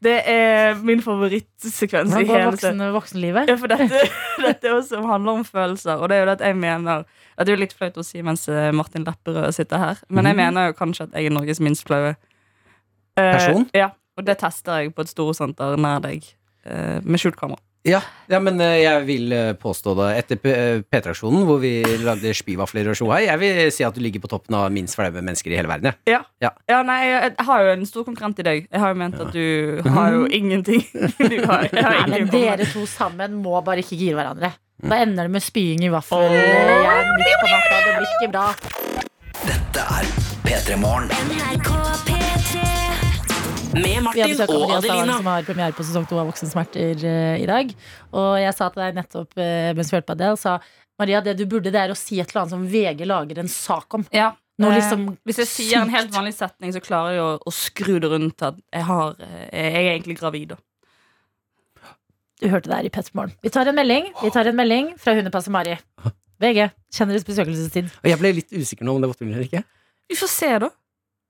Det er min favorittsekvens i
Hvordan går
hele serien.
voksen, voksenlivet?
Ja, for dette, dette er også handler om følelser, og det er jo det at jeg mener at Det er jo litt flaut å si mens eh, Martin Lepperød sitter her, men jeg mener jo kanskje at jeg er Norges minst flaue. Eh,
Person?
Ja, og det tester jeg på et storsenter nær deg eh, med skjult kamera.
Ja, ja men eh, jeg vil eh, påstå det etter P- eh, P3-aksjonen, hvor vi lagde spyvafler og sjohei. Jeg vil si at du ligger på toppen av minst flaue mennesker i hele verden. jeg.
Ja.
Ja.
nei, jeg, jeg har jo en stor konkurrent i deg. Jeg har jo ment at du har jo ingenting. Du har, jeg har
Nei, men
ingenting å komme med.
dere to sammen må bare ikke gire hverandre. Da ender det med spying i vaffel. Jeg er midt på natta, det blir ikke bra.
Med
Vi har
Martin
besøk av
og
Maria Stavang,
Adelina.
som har premiere på sesong to av Voksensmerter eh, i dag. Og jeg sa til deg nettopp eh, mens vi hørte på Adele, sa Maria, det du burde, det er å si et eller annet som VG lager en sak om.
Ja.
Noe
eh,
liksom
Hvis jeg sier en
sykt.
helt vanlig setning, så klarer jeg å, å skru det rundt til at jeg, har, eh, jeg er egentlig gravid. Da.
Du hørte det her i Pettermorgen. Vi tar en melding Vi tar en melding fra Hundepasset Mari. VG. Kjenner deres besøkelsestid.
Og jeg ble litt usikker nå om det var tull eller ikke.
Vi får se, da.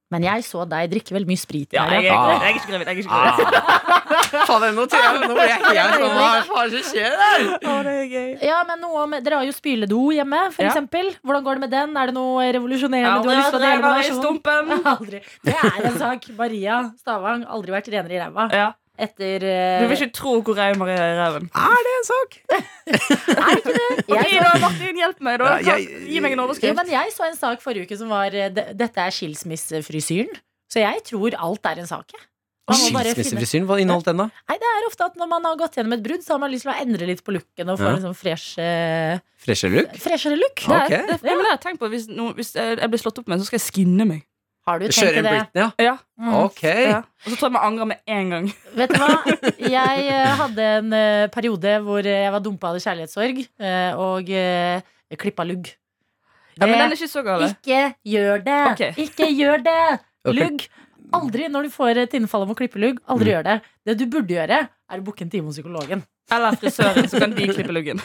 Men jeg så deg drikke veldig mye sprit.
Ja, Ah.
Maria.
jeg, er, jeg er ikke gravid. Jeg er ikke gravid.
Ah.
Faen, nå jeg Nå ble jeg helt sånn Hva faen som skjer der?
Å, det er gøy.
Ja, men noe om, Dere har jo spyledo hjemme, for
Ja.
eksempel. Hvordan går det med den? Er det noe revolusjonerende du har lyst til å dele med
Aldri i
nasjonen?
stumpen.
Aldri. Det er en sak. Maria Stavang aldri vært renere i ræva
Ja.
etter
Du
eh,
vil ikke tro hvor rei Maria er i ræven.
jeg,
Ok,
så,
da, Martin, hjelp meg, da.
Ja, jeg-
Gi meg en
jo,
overskrift.
men jeg så en sak forrige uke som var eh, de- Dette er skilsmissefrisyren. Så jeg tror alt er en sak. jeg. Man må bare finne-
Skilsmissefrisyren, hva inneholdt den, da?
Nei, det er ofte at Når man har gått gjennom et brudd, Så har man lyst til å endre litt på looken og få
Ja.
en sånn fresh, eh,
Fresher look?
freshere look.
Ja. Ok.
Det er- det er- men det har jeg tenkt på. Hvis, no, hvis eh, jeg blir slått opp med, så skal jeg skinne meg.
Har du tenkt
Kjøre
på
en
det?
Britney, ja?
Ja,
Mm.
Ok.
ja. Og så tror jeg vi angrer med en gang.
Vet du hva? Jeg eh, hadde en eh, periode hvor eh, jeg var dumpa av kjærlighetssorg eh, og eh, klippa lugg.
Ja, men
Det-
den er ikke så gal.
Ikke gjør det!
Ok.
Ikke gjør det!
Ok.
Lugg. Aldri når du får et innfall om å klippe lugg. Aldri
Mm.
gjør det. Det du burde gjøre, er å booke en time hos psykologen.
Eller frisøren, så kan de klippe luggen.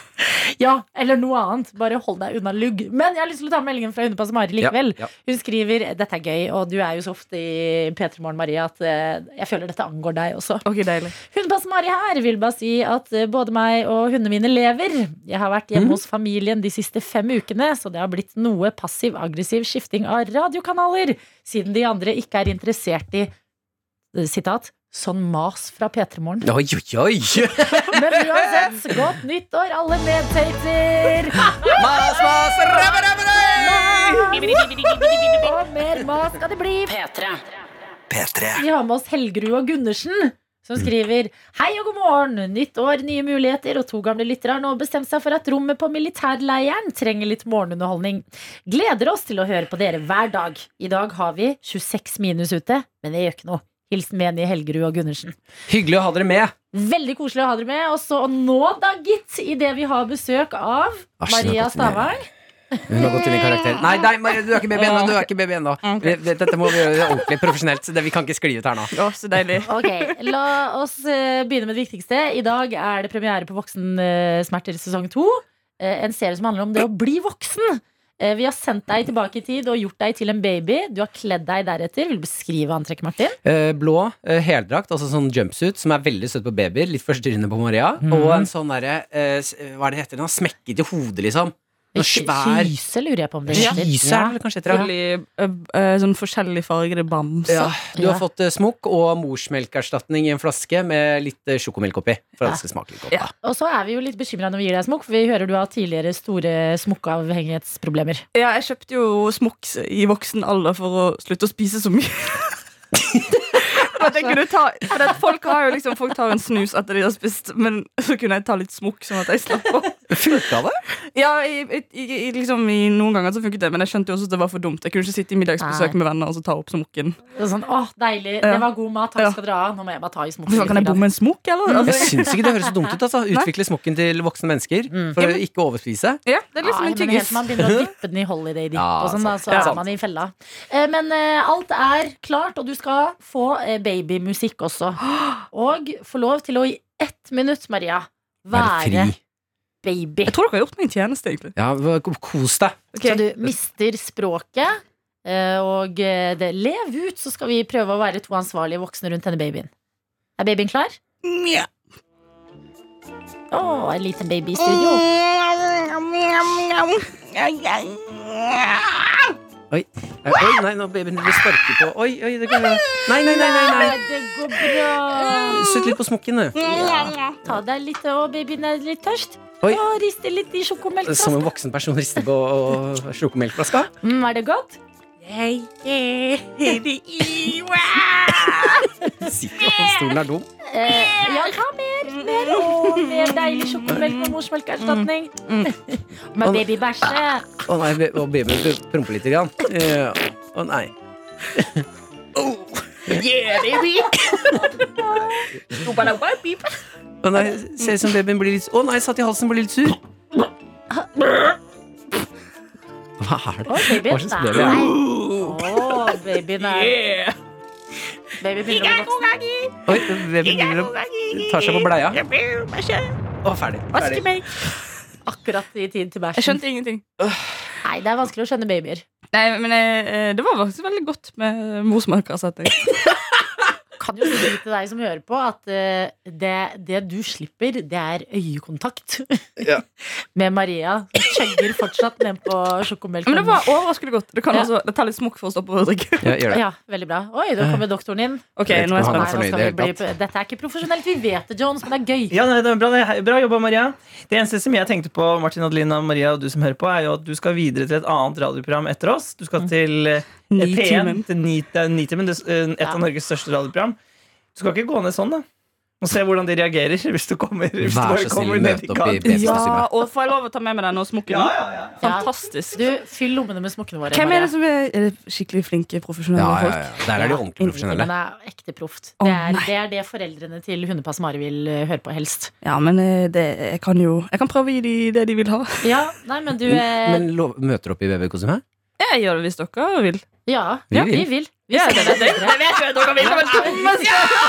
Ja, Eller noe annet. Bare hold deg unna lugg. Men jeg har lyst til å ta med meldingen fra Hundepass Mari likevel.
Ja, ja.
Hun skriver dette er gøy, og du er jo så ofte i P3 Morgen, Maria, at eh, jeg føler dette angår deg også.
Ok, deilig
Hundepass Mari her vil bare si at eh, både meg og hundene mine lever. Jeg har vært hjemme hos familien de siste fem ukene, så det har blitt noe passiv-aggressiv skifting av radiokanaler, siden de andre ikke er interessert i eh, sitat, sånn mas fra P3morgen.
Oi, oi, oi!
Men uansett, godt nyttår, alle medtater!
Mas, mas, rabba, rabba, rabba!
Og mer mas skal det bli!
P3.
P3.
Vi har med oss Helgerud og Gundersen, som
Mm.
skriver Hei og god morgen! Nytt år, nye muligheter, og to gamle lyttere har nå bestemt seg for at rommet på militærleiren trenger litt morgenunderholdning. Gleder oss til å høre på dere hver dag. I dag har vi 26 minus ute, men det gjør ikke noe. Hilsen Meni, Helgerud og Gundersen.
Hyggelig å ha dere med.
Veldig koselig å ha dere med. Og så og nå, da, gitt, idet vi har besøk av
Asj, nå
Maria
går det ned.
Stavang.
Hun har gått inn i karakter. Nei, nei Maria, du er ikke baby ennå. Du er ikke baby ennå. Det- Dette må vi gjøre ordentlig profesjonelt. så det- Vi kan ikke skli ut her nå.
Å, så deilig.
Ok, La oss eh, begynne med det viktigste. I dag er det premiere på Voksensmerter sesong to. Eh, en serie som handler om det å bli voksen. Eh, vi har sendt deg tilbake i tid og gjort deg til en baby. Du har kledd deg deretter. Vil du beskrive antrekket, Martin?
Eh, Blå eh, heldrakt, altså sånn jumpsuit, som er veldig søt på babyer. Litt forstyrrende på Maria.
Mhm.
Og en sånn derre eh, s- Hva er det heter? nå? Smekket i hodet, liksom. Noe svær
Kyse, lurer jeg på om det heter.
Kyse er det vel kanskje heter. det?
Veldig, eh, eh, sånn forskjellig fargede bamser.
Ja, du har
Ja.
fått eh, smokk og morsmelkerstatning i en flaske med litt eh, sjokomelk oppi. For at det skal smake litt godt.
Ja.
Og så er vi jo litt bekymra når vi gir deg smokk, for vi hører du har tidligere store smokkeavhengighetsproblemer.
Ja, jeg kjøpte jo smokk i voksen alder for å slutte å spise så mye. For at jeg kunne ta, for at folk, har jo liksom, folk tar en snus etter de har spist, men så kunne jeg ta litt smokk. Sånn at jeg slapp å
Funka det?
Ja, i, i, i, liksom, i Noen ganger så funket det, men jeg skjønte jo også at det var for dumt. Jeg kunne ikke sitte i middagsbesøk
Nei.
med venner og så ta opp smokken.
Det er sånn, åh, deilig, det var god mat, takk skal dere ha. Nå må jeg bare ta i smokken.
Kan jeg
litt grann.
bomme en smokk,
Mm.
eller?
Jeg
Altså,
syns ikke det høres så dumt ut. Altså. Utvikle smokken til voksne mennesker
Mm.
Mm.
for å ikke overspise.
ja, det er
Nei,
liksom en
men helt
tyggis.
til man begynner å dyppe den i Holiday Dip,
Ja,
og sånn, da, så
sant. Ja,
er man i fella. Eh, Men eh, alt er klart, og du skal få eh, babymusikk også. Og få lov til å i ett minutt, Maria, være baby.
Jeg tror dere har gjort meg en tjeneste, egentlig.
Ja, v- k- kos deg.
Så du mister språket, eh, og eh, det lev ut, så skal vi prøve å være to ansvarlige voksne rundt denne babyen. Er babyen klar?
Nja.
Å, en liten baby i studio.
Eh, Oi, nei, nå babyen blir sparket på. Oi, oi, det går bra. Nei, nei, nei, nei, nei.
Det går bra.
Sutt litt på smokken, du.
Ja. Ta deg litt, og babyen er litt tørst.
Oi.
Å, riste litt i sjokomelka.
Som en voksen person rister på øh, sjokomelkflaska.
Mm, er det godt?
Sikkert at stolen er dum.
Eh, ja, ta mer. Mer, å, mer deilig sjokomelk med morsmelkerstatning. Med babybæsje.
Å nei, be- og babyen pr- promper litt. Grann. Eh, Å nei. Å nei, Ser ut som babyen blir litt Å nei, satt i halsen, blir litt sur. Hva er det?
Å,
Hva
babyen
slags
er
baby er det?
Å, babyen er Baby begynner å bli voksen.
Oi, babyen begynner å tar seg på bleia. Og ferdig. ferdig.
Akkurat i tid til
Jeg
bæsjen.
skjønte ingenting.
Nei, det er vanskelig å skjønne babyer.
Nei, men jeg, eh, Det var faktisk veldig godt med morsmelkersetting.
Kan jo si til deg som hører på, at eh, det, det du slipper, det er øyekontakt med Maria. Hun Chugger fortsatt nedpå sjokomelken.
Men det var overraskende godt. Det, kan
Ja.
også, det tar litt smokk for å stoppe å drikke.
Ja, gjør det.
Ja, veldig bra. Oi, da kommer doktoren inn.
Ok, nå er jeg
Han
Nei,
er
nå
spent.
fornøyd
skal vi
i det
bli,
hele
dette er ikke profesjonelt. Vi vet det, Jones, men det er gøy.
Ja, nei, det er bra, det er bra jobba, Maria. Det eneste som jeg tenkte på, Martin, Adelina, Maria og du som hører på, er jo at du skal videre til et annet radioprogram etter oss. Du skal til eh, P1,
Nitimen.
til Ni- det er Nitimen, det, eh, et
Ja.
av Norges største radioprogram. Du skal ikke gå ned sånn, da. Og se hvordan de reagerer hvis du kommer, hvis du
Vær
bare
så snill,
kommer ned
møt
i
opp i
kant.
babykostyme.
Ja, og får jeg lov å ta med meg denne og smokken?
Ja, ja, ja.
Fantastisk.
Du, fyll lommene med smokkene våre.
Hvem
Maria.
er det som er, er det skikkelig flinke, profesjonelle
Ja, ja,
folk?
ja. Der er de ordentlig profesjonelle.
Men det er ekte proft.
Å,
Det er,
nei.
det er det foreldrene til Hundepass Mari vil eh, høre på helst.
Ja, men eh, det, jeg kan jo Jeg kan prøve å gi dem det de vil ha.
Ja, nei, men du eh,
Men lov- møter opp i babykostyme?
Jeg gjør det hvis dere vil.
Ja,
Vi
ja, vi
vil.
vil. Vi sender deg videre.
dere vil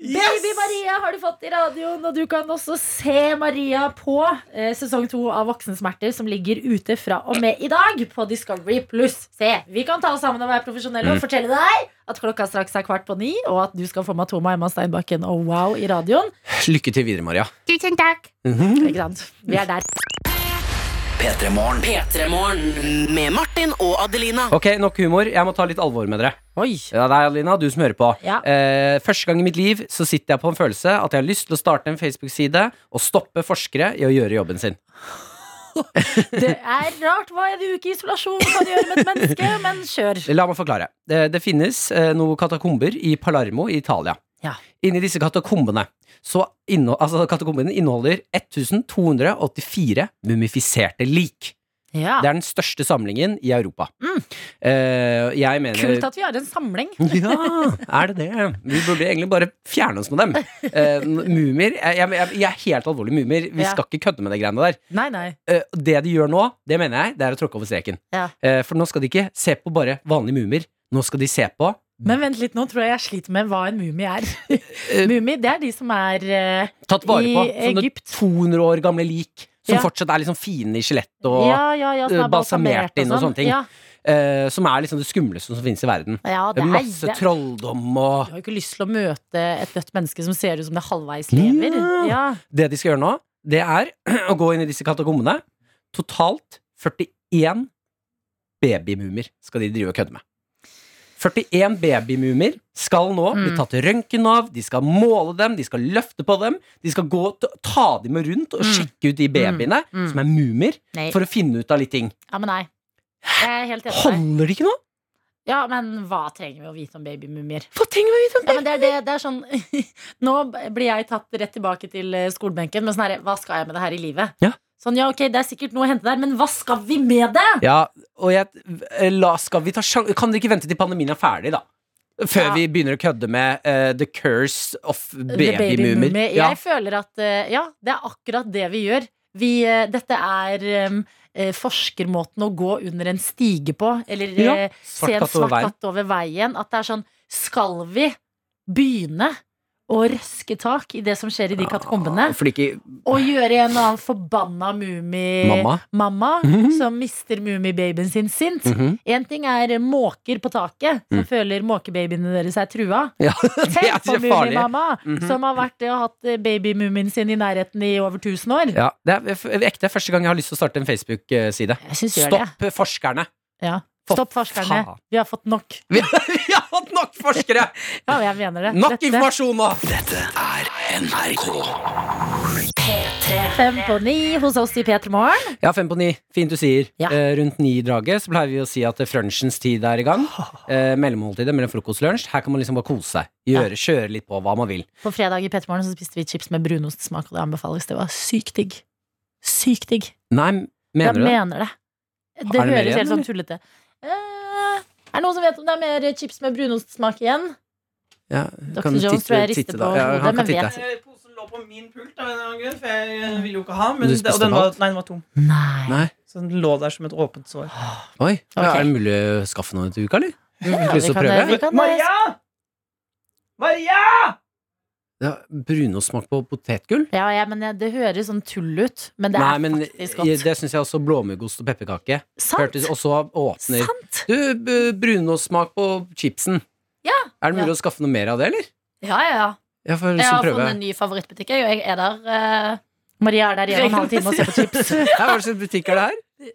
Baby Maria har du fått i radioen, og du kan også se Maria på eh, sesong to av Voksensmerter, som ligger ute fra og med i dag på Discovery Pluss. Se, vi kan ta oss sammen og være profesjonelle og fortelle deg at klokka straks er kvart på ni, og at du skal få Matoma, Emma Steinbakken og Wow i radioen.
Lykke til videre, Maria. Mhm.
Tusen takk.
Ikke sant? Vi er der.
P3morgen.
P3-morgen med Martin og Adelina.
Ok, Nok humor. Jeg må ta litt alvor med dere.
Oi.
Ja, det er Adelina, du som hører på.
Ja.
Eh, første gang i mitt liv så sitter jeg på en følelse at jeg har lyst til å starte en Facebook-side og stoppe forskere i å gjøre jobben sin.
Det er rart hva en uke i isolasjon kan gjøre med et menneske, men kjør.
La meg forklare. Det, det finnes eh, noen katakomber i Palermo i Italia.
Ja.
Inni disse katakombene så inno, altså katakombene inneholder 1284 mumifiserte lik.
Ja. Mm.
Det er den største samlingen i Europa. Eh, jeg mener
Kult at vi har en samling.
ja, er det det? Vi burde egentlig bare fjerne oss med dem. Eh, mumier jeg, jeg, jeg er helt alvorlig mumier. Vi
Ja.
skal ikke kødde med de greiene der.
Nei, nei.
Eh, det de gjør nå, det mener jeg, det er å tråkke over streken.
Ja.
Eh, for nå skal de ikke se på bare vanlige mumier. Nå skal de se på
Men vent litt, nå tror jeg jeg sliter med hva en mumie er.
Eh,
mumie, det er de som er eh,
Tatt vare
I
på sånne
Egypt.
200 år gamle lik
Ja.
som fortsatt er liksom fine i skjelett og
Ja, ja, ja, som
eh,
er balsamert
balsamert inn og
sånn.
sånne ting.
Ja,
eh, Som er liksom det skumleste som finnes i verden.
ja, det er,
Masse
det.
trolldom og
Jeg har jo ikke lyst til å møte et dødt menneske som ser ut som det halvveis lever.
Ja.
Ja.
Det de skal gjøre nå, det er å gå inn i disse katakombene. Totalt 41 babymumier skal de drive og kødde med. 41 babymumier skal nå bli
Mm.
tatt røntgen av, de skal måle dem, de skal løfte på dem. De skal gå og ta- ta dem med rundt og
Mm.
sjekke ut de babyene
Mm.
som er mumier,
Nei.
for å finne ut av litt ting.
ja, men nei. Jeg er helt enig med deg.
Holder det ikke nå?
Ja, men hva trenger vi å vite om babymumier?
Hva trenger vi å vite om
Ja, men det er, det, det er sånn Nå blir jeg tatt rett tilbake til eh, skolebenken, men sånn her, hva skal jeg med det her i livet?
Ja.
Sånn, ja, ok, det er sikkert noe å hente der, men hva skal vi med det?
Ja, og jeg, eh, la, skal vi ta sjan- Kan dere ikke vente til pandemien er ferdig, da? Før
Ja.
vi begynner å kødde med eh, The Curse of
The Baby
Babymummer.
Mummy.
Ja.
Jeg føler at eh, ja, det er akkurat det vi gjør. Vi, eh, dette er em, eh, forskermåten å gå under en stige på, eller
Ja,
eh, se
svart
en
katt over
svart katt over veien. At det er sånn Skal vi begynne å røske tak i det som skjer i de katakombene?
Ah, Fordi ikke
Og gjøre en og annen forbanna mumimamma
mamma
mamma,
Mhm.
som mister mumibabyen sin sint?
Mhm.
En ting er måker på taket, som føler måkebabyene deres er trua.
Mm. Ja, det er
Tenk på
så farlig.
Mumimamma,
Mhm.
som har vært det og hatt eh, babymumien sin i nærheten i over 1000 år.
Ja, det er f- eh, ekte første gang jeg har lyst til å starte en Facebook-side.
Jeg synes vi gjør det.
Stopp forskerne!
Ja.
For
Stopp forskerne.
faen.
Vi har fått nok.
Vi, vi har hatt nok forskere!
Ja, jeg mener det.
Nok
Dette-
informasjon nå!
NRK.
Fem på ni hos oss i P3 Morgen.
Ja, fem på ni. Fint du sier.
Ja.
Eh, rundt ni-draget så pleier vi å si at frunsjens tid er i gang. Eh, mellommåltidet mellom frokost og lunsj. Her kan man liksom bare kose seg. Gjøre, Kjøre litt på hva man vil.
På fredag i P3 Morgen så spiste vi chips med brunostsmak, og det anbefales. Det var sykt digg. Sykt digg.
Nei,
Jeg
mener du det?
mener det. Det,
Er det mer
høres
igjen,
helt sånn
eller?
tullete. Eh, er det noen som vet om det er mer eh, chips med brunostsmak igjen?
Ja,
Dr.
kan
Jones
titte-
tror jeg rister
titte
på
da. Ja,
hodet,
han kan
men
titte.
vet-
Eh, Posen lå på min pult av en eller annen grunn, for jeg eh, ville jo ikke ha. Men
Du
det,
spiste
og den
opp
var,
alt?
nei, den var tom.
Nei.
Nei.
Så den lå der som et åpent sår.
Oi. Ja,
Ok.
er det mulig å skaffe noe til uka, eller?
Ja,
lyst
vi
til å
kan,
prøve?
eh, vi kan, eh,
Maria! Maria!
Ja, Brunostsmak på potetgull?
Ja, ja, men det høres sånn tull ut. Men det
Nei,
er
men
faktisk godt.
det syns jeg også. Blåmuggost og pepperkake.
sant.
Hørtes også åpner.
sant.
Du, b- brunostsmak på chipsen.
Ja,
Er det mulig
ja.
å skaffe noe mer av det, eller?
Ja, ja, ja.
Jeg får
Jeg
liksom
har
prøve.
funnet en ny favorittbutikk. Jeg, og jeg er der. eh,
Maria er der igjen om en halv time og ser på chips.
Ja, Hva slags butikk er det her?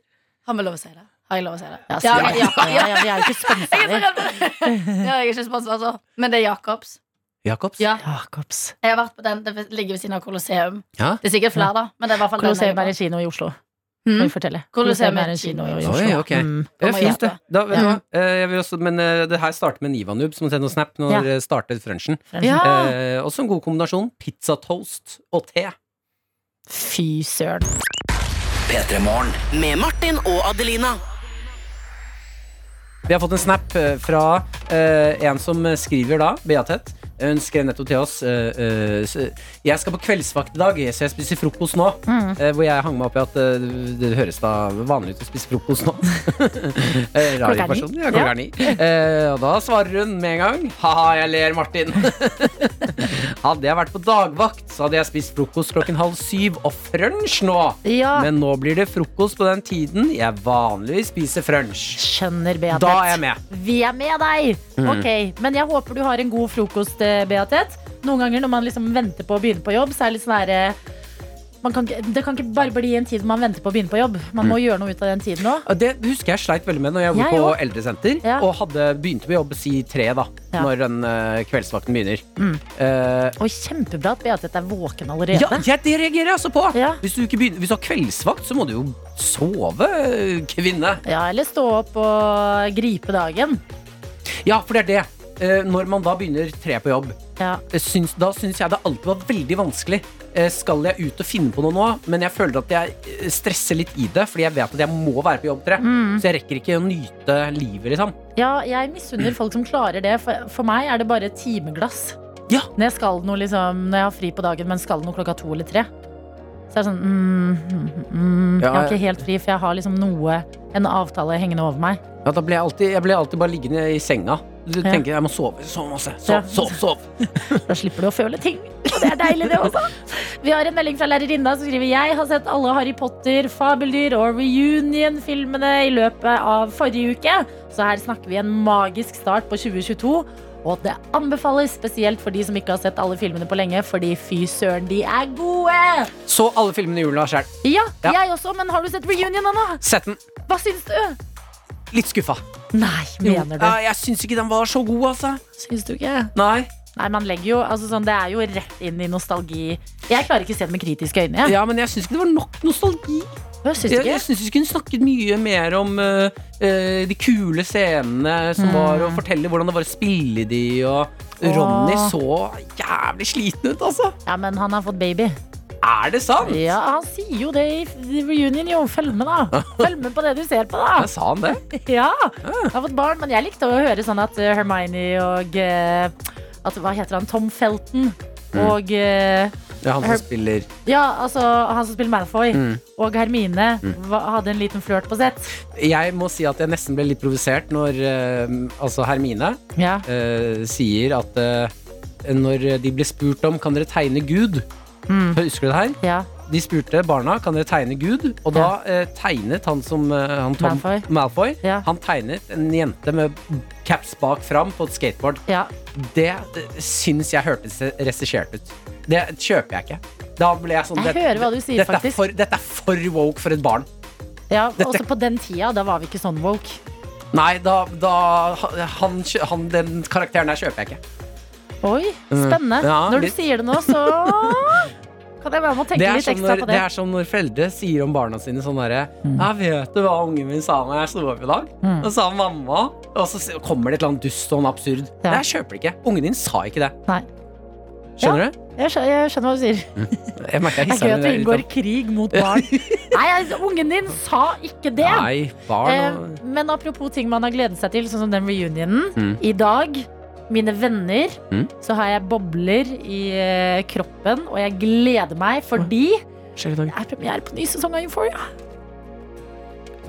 har vi lov å si det? Har jeg lov å si det?
Ja, så,
Ja,
ja, ja,
ja, ja.
vi er jo
Jeg
ikke
er så
sponsorer.
redd for det. Ja, jeg er ikke sponset, altså. Men det er Jacobs.
Jacobs?
Ja,
Jacobs.
jeg har vært på den. Det ligger ved siden av Colosseum.
Ja.
Det er sikkert flere, da. Men det er i hvert fall den jeg
Colosseum
var
er en kino i Oslo.
Mm.
Får vi fortelle.
Colosseum
er en kino i Oslo.
Oi, ok.
Mm.
Ja,
Kommer
fint, det.
hjertet.
Da, vet du
Ja.
hva? Eh, Jeg vil også, men eh, det her starter med Nivanub, som har sendt en snap når
Ja.
dere startet frunchen.
Ja.
sånn-
Eh, også en god kombinasjon. Pizzatoast og te.
Fy søren.
P3 Morgen.
Med Martin og Adelina.
Vi har fått en snap eh, fra eh, en som skriver da, Beatet. Hun skrev nettopp til oss eh, eh, s- Jeg skal på kveldsvakt i dag, så jeg spiser frokost nå. Eh, hvor jeg hang meg opp i at eh, det høres da vanlig ut å spise frokost nå. Eh,
Klokka
Rar
er ni.
informasjon. Ja, klokka er ni. Eh, og da svarer hun med en gang Ha-ha, jeg ler, Martin. hadde jeg vært på dagvakt, så hadde jeg spist frokost klokken halv syv og frunsj nå.
Ja,
Men nå blir det frokost på den tiden jeg vanligvis spiser frunsj.
skjønner Beatet.
Da er jeg med.
Vi er med deg! Ok, Men jeg håper du har en god frokost, eh, Beatet. Noen ganger når man liksom venter på å begynne på jobb, så er det litt sånn herre man kan, ikke- det kan ikke bare bli en tid man venter på å begynne på jobb. Man må gjøre noe ut av den tiden òg.
Ja, Det husker jeg sleit veldig med når jeg var
Jeg
på
også.
eldresenter.
Ja.
Og hadde begynte med jobb si tre, da.
Ja. Mm.
Når den eh, kveldsvakten begynner. Eh,
Og kjempebra at Beatet er våken
ja,
allerede.
ja, det reagerer jeg også på!
Ja.
Hvis, du ikke begynner, hvis du har kveldsvakt, så må du jo sove, kvinne.
Ja, eller stå opp og gripe dagen.
Ja, for det er det. eh, når man da begynner tre på jobb,
Ja.
eh, syns, da syns jeg det alltid var veldig vanskelig. Eh, Skal jeg ut og finne på noe nå? Men jeg føler at jeg eh, stresser litt i det, fordi jeg vet at jeg må være på jobb tre.
Mm.
Så jeg rekker ikke å nyte livet, liksom.
Ja, jeg misunner folk som klarer det. For, for meg er det bare timeglass.
Ja.
Når jeg skal noe, liksom, når jeg har fri på dagen, men skal noe klokka to eller tre. Så er det sånn mm, mm, mm. Jeg
Ja,
har ikke helt fri, for jeg har liksom noe, en avtale hengende over meg.
Ja, da ble jeg, alltid, jeg ble alltid bare liggende i senga. Du
Ja.
tenker jeg må sove så masse. Sov,
Ja.
sov, sov.
Da slipper du å føle ting. Og det er deilig, det også. Vi har en melding fra lærerinna som skriver Jeg har sett alle Harry Potter, Fabeldyr og Reunion-filmene i løpet av forrige uke. Så her snakker vi en magisk start på 2022. Og det anbefales spesielt for de som ikke har sett alle filmene på lenge, fordi fy søren, de er gode!
Så alle filmene i jula sjøl.
Ja,
Ja.
jeg også, men har du sett Reunion, Anna?
Sett den.
Hva syns du?
Litt skuffa.
Nei, mener du?
Ja, jeg syns ikke den var så god, altså.
Syns du ikke?
Nei.
Nei, man legger jo altså sånn, Det er jo rett inn i nostalgi. Jeg klarer ikke å se det med kritiske øyne. Jeg.
Ja, men jeg syns ikke det var nok nostalgi.
Hva syns du
Jeg,
ikke?
jeg syns vi kunne snakket mye mer om eh, eh, de kule scenene
Mm.
som var, og fortelle hvordan det var å spille de, og Ronny
Åh.
så jævlig sliten ut, altså.
Ja, men han har fått baby.
Er det sant?
Ja, Han sier jo det i i reunion, jo. Følg med, da. Følg med på det du ser på, da.
Ja, sa han det?
Ja, Han har fått barn, men jeg likte å høre sånn at eh, Hermione og eh, at, Hva heter han? Tom Felton.
Mm.
Og eh,
Ja, han
Her-
som spiller
ja, altså han som spiller Malfoy.
Mm.
Og Hermine hva, hadde en liten flørt på sett.
Jeg må si at jeg nesten ble litt provosert når eh, altså Hermine
Ja.
eh, sier at eh, når de ble spurt om kan dere tegne Gud Husker du det her?
Mm. ja.
De spurte barna kan dere tegne Gud, og da eh, tegnet han som eh, han Tom Malfoy,
Malfoy. Ja.
Han tegnet en jente med caps bak fram på et skateboard.
Ja.
Det eh, syns jeg hørtes regissert ut. Det kjøper jeg ikke. Da ble jeg sånn
Jeg hører hva du sier,
dette,
faktisk.
Er for, dette er for woke for et barn.
ja
Dette-
også på den tida, da var vi ikke sånn woke.
Nei, da, da han, kjø- han, Den karakteren der kjøper jeg ikke.
Oi, spennende.
Mm. Ja,
Når du
litt-
sier det nå, så kan jeg være med og
Det
tenke
er,
litt
som
ekstra
når,
på
det
det.
er som når foreldre sier om barna sine sånn derre Ja, vet du hva ungen min sa når jeg sto opp i dag?
Mm.
Og sa mamma. Og så s- kommer det et eller annet dust og en absurd.
Ja.
Nei, jeg kjøper det ikke. Ungen din sa ikke det.
Nei.
Skjønner du?
Jeg skjø- jeg skjønner hva du sier.
Jeg merker jeg
Det er gøy at du
hisser meg litt sånn.
inngår
opp.
krig mot barn. Nei, altså, ungen din sa ikke det.
Nei, barn og
Eh, men apropos ting man har gledet seg til, sånn som den reunionen.
Mm.
I dag, mine venner,
Mm.
så har jeg bobler i eh, kroppen, og jeg gleder meg fordi det
Skjer det i dag?
er premiere på ny sesong av Euphoria.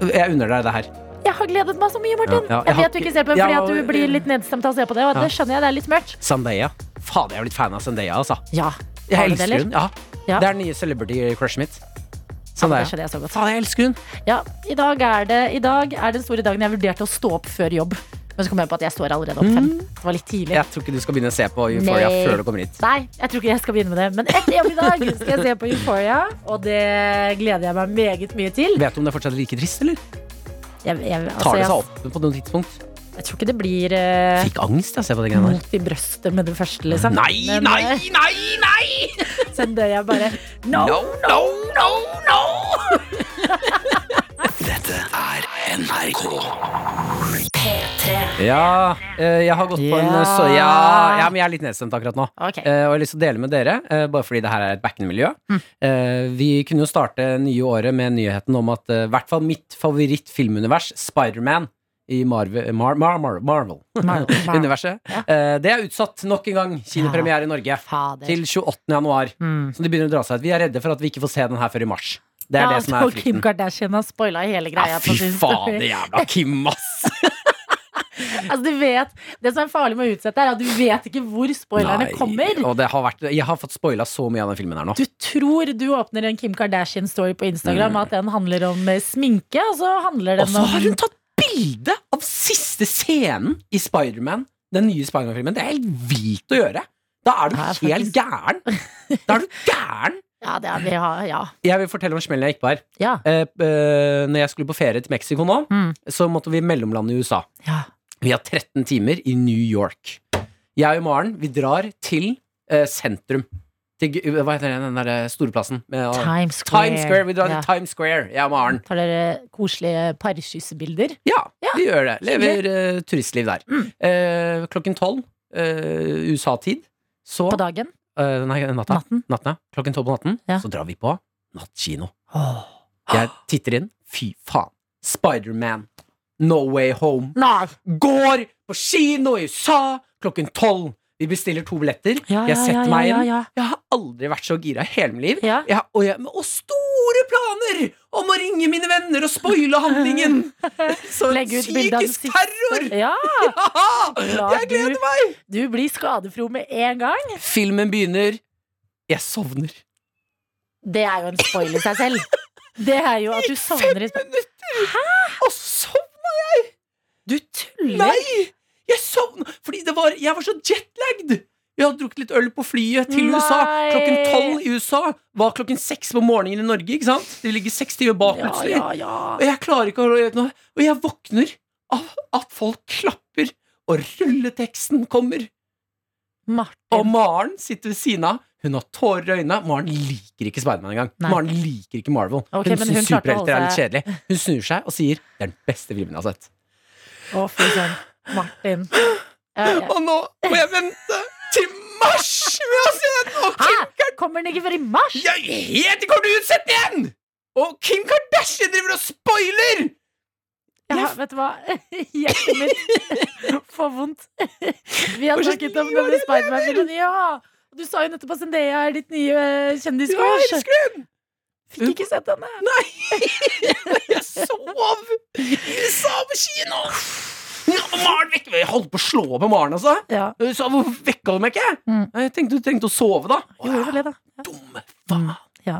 Jeg unner deg det her.
Jeg har gledet meg så mye, Martin.
Ja, ja, jeg
jeg
har
vet du ikke ser på den
ikke-
fordi
Ja,
at du
og-
blir litt nedstemt av å se på det, og
Ja.
det skjønner jeg, det er litt mørkt.
Sandeya. Fader, jeg har blitt fan av Sandeya, altså.
Ja, Har
Jeg
du det,
elsker
eller?
hun. Ja.
Ja.
Det er den nye celebrity-crushet mitt.
ja, men
Sandeya.
det skjønner jeg så godt.
Fader, jeg elsker hun.
Ja, i dag er det I dag er den store dagen jeg vurderte å stå opp før jobb. Men så kom jeg på at jeg står allerede opp fem. Det var litt tidlig.
Jeg tror ikke du skal begynne å se på Mm. Euphoria
Nei.
før du kommer hit.
Nei, jeg tror ikke jeg skal begynne med det. Men etter jobb i dag skal jeg se på Euphoria, og det gleder jeg meg meget mye til.
Vet du om det er fortsatt like trist, eller?
Jeg, jeg, altså,
Tar det seg
jeg,
opp på noe tidspunkt?
jeg tror ikke det blir eh,
Fikk angst av å se på de greiene der.
mot i brøstet med det første, liksom.
Nei,
Mm. Men,
nei,
eh,
nei, nei!
Så dør jeg bare No!
No, no, no, no!
Dette er NRK.
Ja, eh, jeg har gått på en
Ja.
så ja, ja, men jeg er litt nedstemt akkurat nå.
Ok.
Eh, Og jeg har lyst til å dele med dere, eh, bare fordi det her er et backend-miljø.
Mm.
Eh, Vi kunne jo starte nye året med nyheten om at eh, i hvert fall mitt favorittfilmunivers, Spiderman, i Marve, Mar Mar Mar Marvel.
Mar- Mar-
Universet. Eh, Det er utsatt nok en gang. Kinopremiere i Norge.
Fader.
Til 28. januar.
Mm.
Så de begynner å dra seg ut. Vi er redde for at vi ikke får se den her før i mars. Det er
Ja,
det som er
og Kim
frykten.
Kardashian har spoila hele greia.
Ja, fy
på sin story.
fader, jævla Kim, ass!
Altså, du vet, det som er farlig med å utsette, er at du vet ikke hvor spoilerne
Nei,
kommer.
Og det har vært, jeg har fått spoila så mye av den filmen her nå.
Du tror du åpner en Kim Kardashian-story på Instagram, at den handler om eh, sminke, og så handler den
Og så
om
Mm. har hun tatt bilde av siste scenen i Spiderman, den nye Spiderman-filmen. Det er helt vilt å gjøre. Da er du
Det er
helt gæren. Da er du gæren.
Ja, det er, vi har, ja.
Jeg vil fortelle om smellen jeg gikk på her.
Ja.
Eh, eh, når jeg skulle på ferie til Mexico nå,
Mm.
så måtte vi mellomlande i USA.
ja.
Vi har 13 timer i New York. Jeg og Maren, vi drar til eh, sentrum. til, Gu- hva heter den, den der eh, store plassen? Med, å-
Times Square.
Ah. Times Square. Vi drar
Ja.
til Times Square, jeg og Maren.
Tar dere koselige parkyssbilder?
Ja,
Ja, Mm.
vi gjør det. Lever eh, turistliv der. Eh, klokken tolv eh, USA-tid. Så
På dagen?
eh, Nei, natta.
Natten?
Natten, ja. Klokken tolv på natten.
Ja.
Så drar vi på nattkino. Jeg titter inn. Fy faen. Spiderman. No Way Home.
Nei!
Går på kino i USA klokken tolv. Vi bestiller to billetter.
Ja,
jeg
ja, ja,
setter meg
ja,
inn.
ja,
Jeg har aldri vært så gira i hele mitt liv.
ja.
Jeg, har- og, jeg, og store planer om å ringe mine venner og spoile handlingen! Så
Legg ut bilde av den
psykisk
siste.
terror!
Ja!
Ja, jeg gleder meg!
Du blir skadefro med en gang.
Filmen begynner. Jeg sovner.
Det er jo en spoiler i seg selv. Det er jo at du savner et
Og sovner!
Du tuller!
Nei! Jeg sovna fordi det var, jeg var så jetlagd! Jeg hadde drukket litt øl på flyet til USA.
Nei.
Klokken tolv i USA var klokken seks på morgenen i Norge. ikke sant? Det ligger seks timer bak
Ja,
plutselig.
ja, ja.
Og jeg klarer ikke å gjøre noe. Og jeg våkner av at folk klapper, og rulleteksten kommer. Og
Martin.
Maren sitter ved siden av. Hun har tårer i øynene. Maren liker ikke Spiderman engang.
Nei.
Maren liker ikke Marvel.
Ok, men
hun syns
hun klarte å
superhelter er litt
holde
kjedelig. Hun snur seg og sier det er den beste filmen jeg har sett.
Å, fy søren. Martin. Ja, ja.
Og nå må jeg vente til mars med å se den! Og
Hæ?
Kim,
Kommer den ikke før i mars?
jeg er helt kommer til å utsette den igjen! Og Kim Kardashian driver og spoiler!
Jeg har, vet du hva? Hjertet mitt får vondt. Vi har
Hvordan
snakket om
gjorde
denne Spiderman-filmen. Ja! Og du sa jo nettopp at Zendaya er ditt nye
Ja, jeg
kjendiskors.
elsker den!
Fikk ikke sett henne.
Jeg sov i USA på kino! Ja, og Maren vekket meg. Jeg holdt på å slå på Maren, altså.
Ja.
Hun sa, Hvorfor vekka du meg ikke?
Mm.
Jeg tenkte du trengte å sove, da.
Gjorde vel det, da. Ja.
Dumme
faen.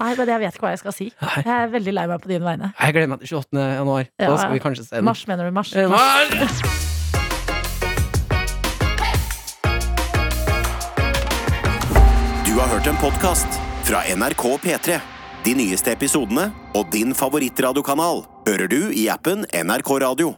Nei, men jeg vet ikke hva jeg skal si.
Nei.
Jeg er veldig lei meg på dine vegne.
Jeg gleder meg til 28. januar.
Ja,
Da skal
ja.
vi kanskje se den.
Mars, mener du? Ehm. Mars.
Eh, Mars!
Du har hørt en podkast fra NRK P3. De nyeste episodene og din favorittradiokanal hører du i appen NRK Radio.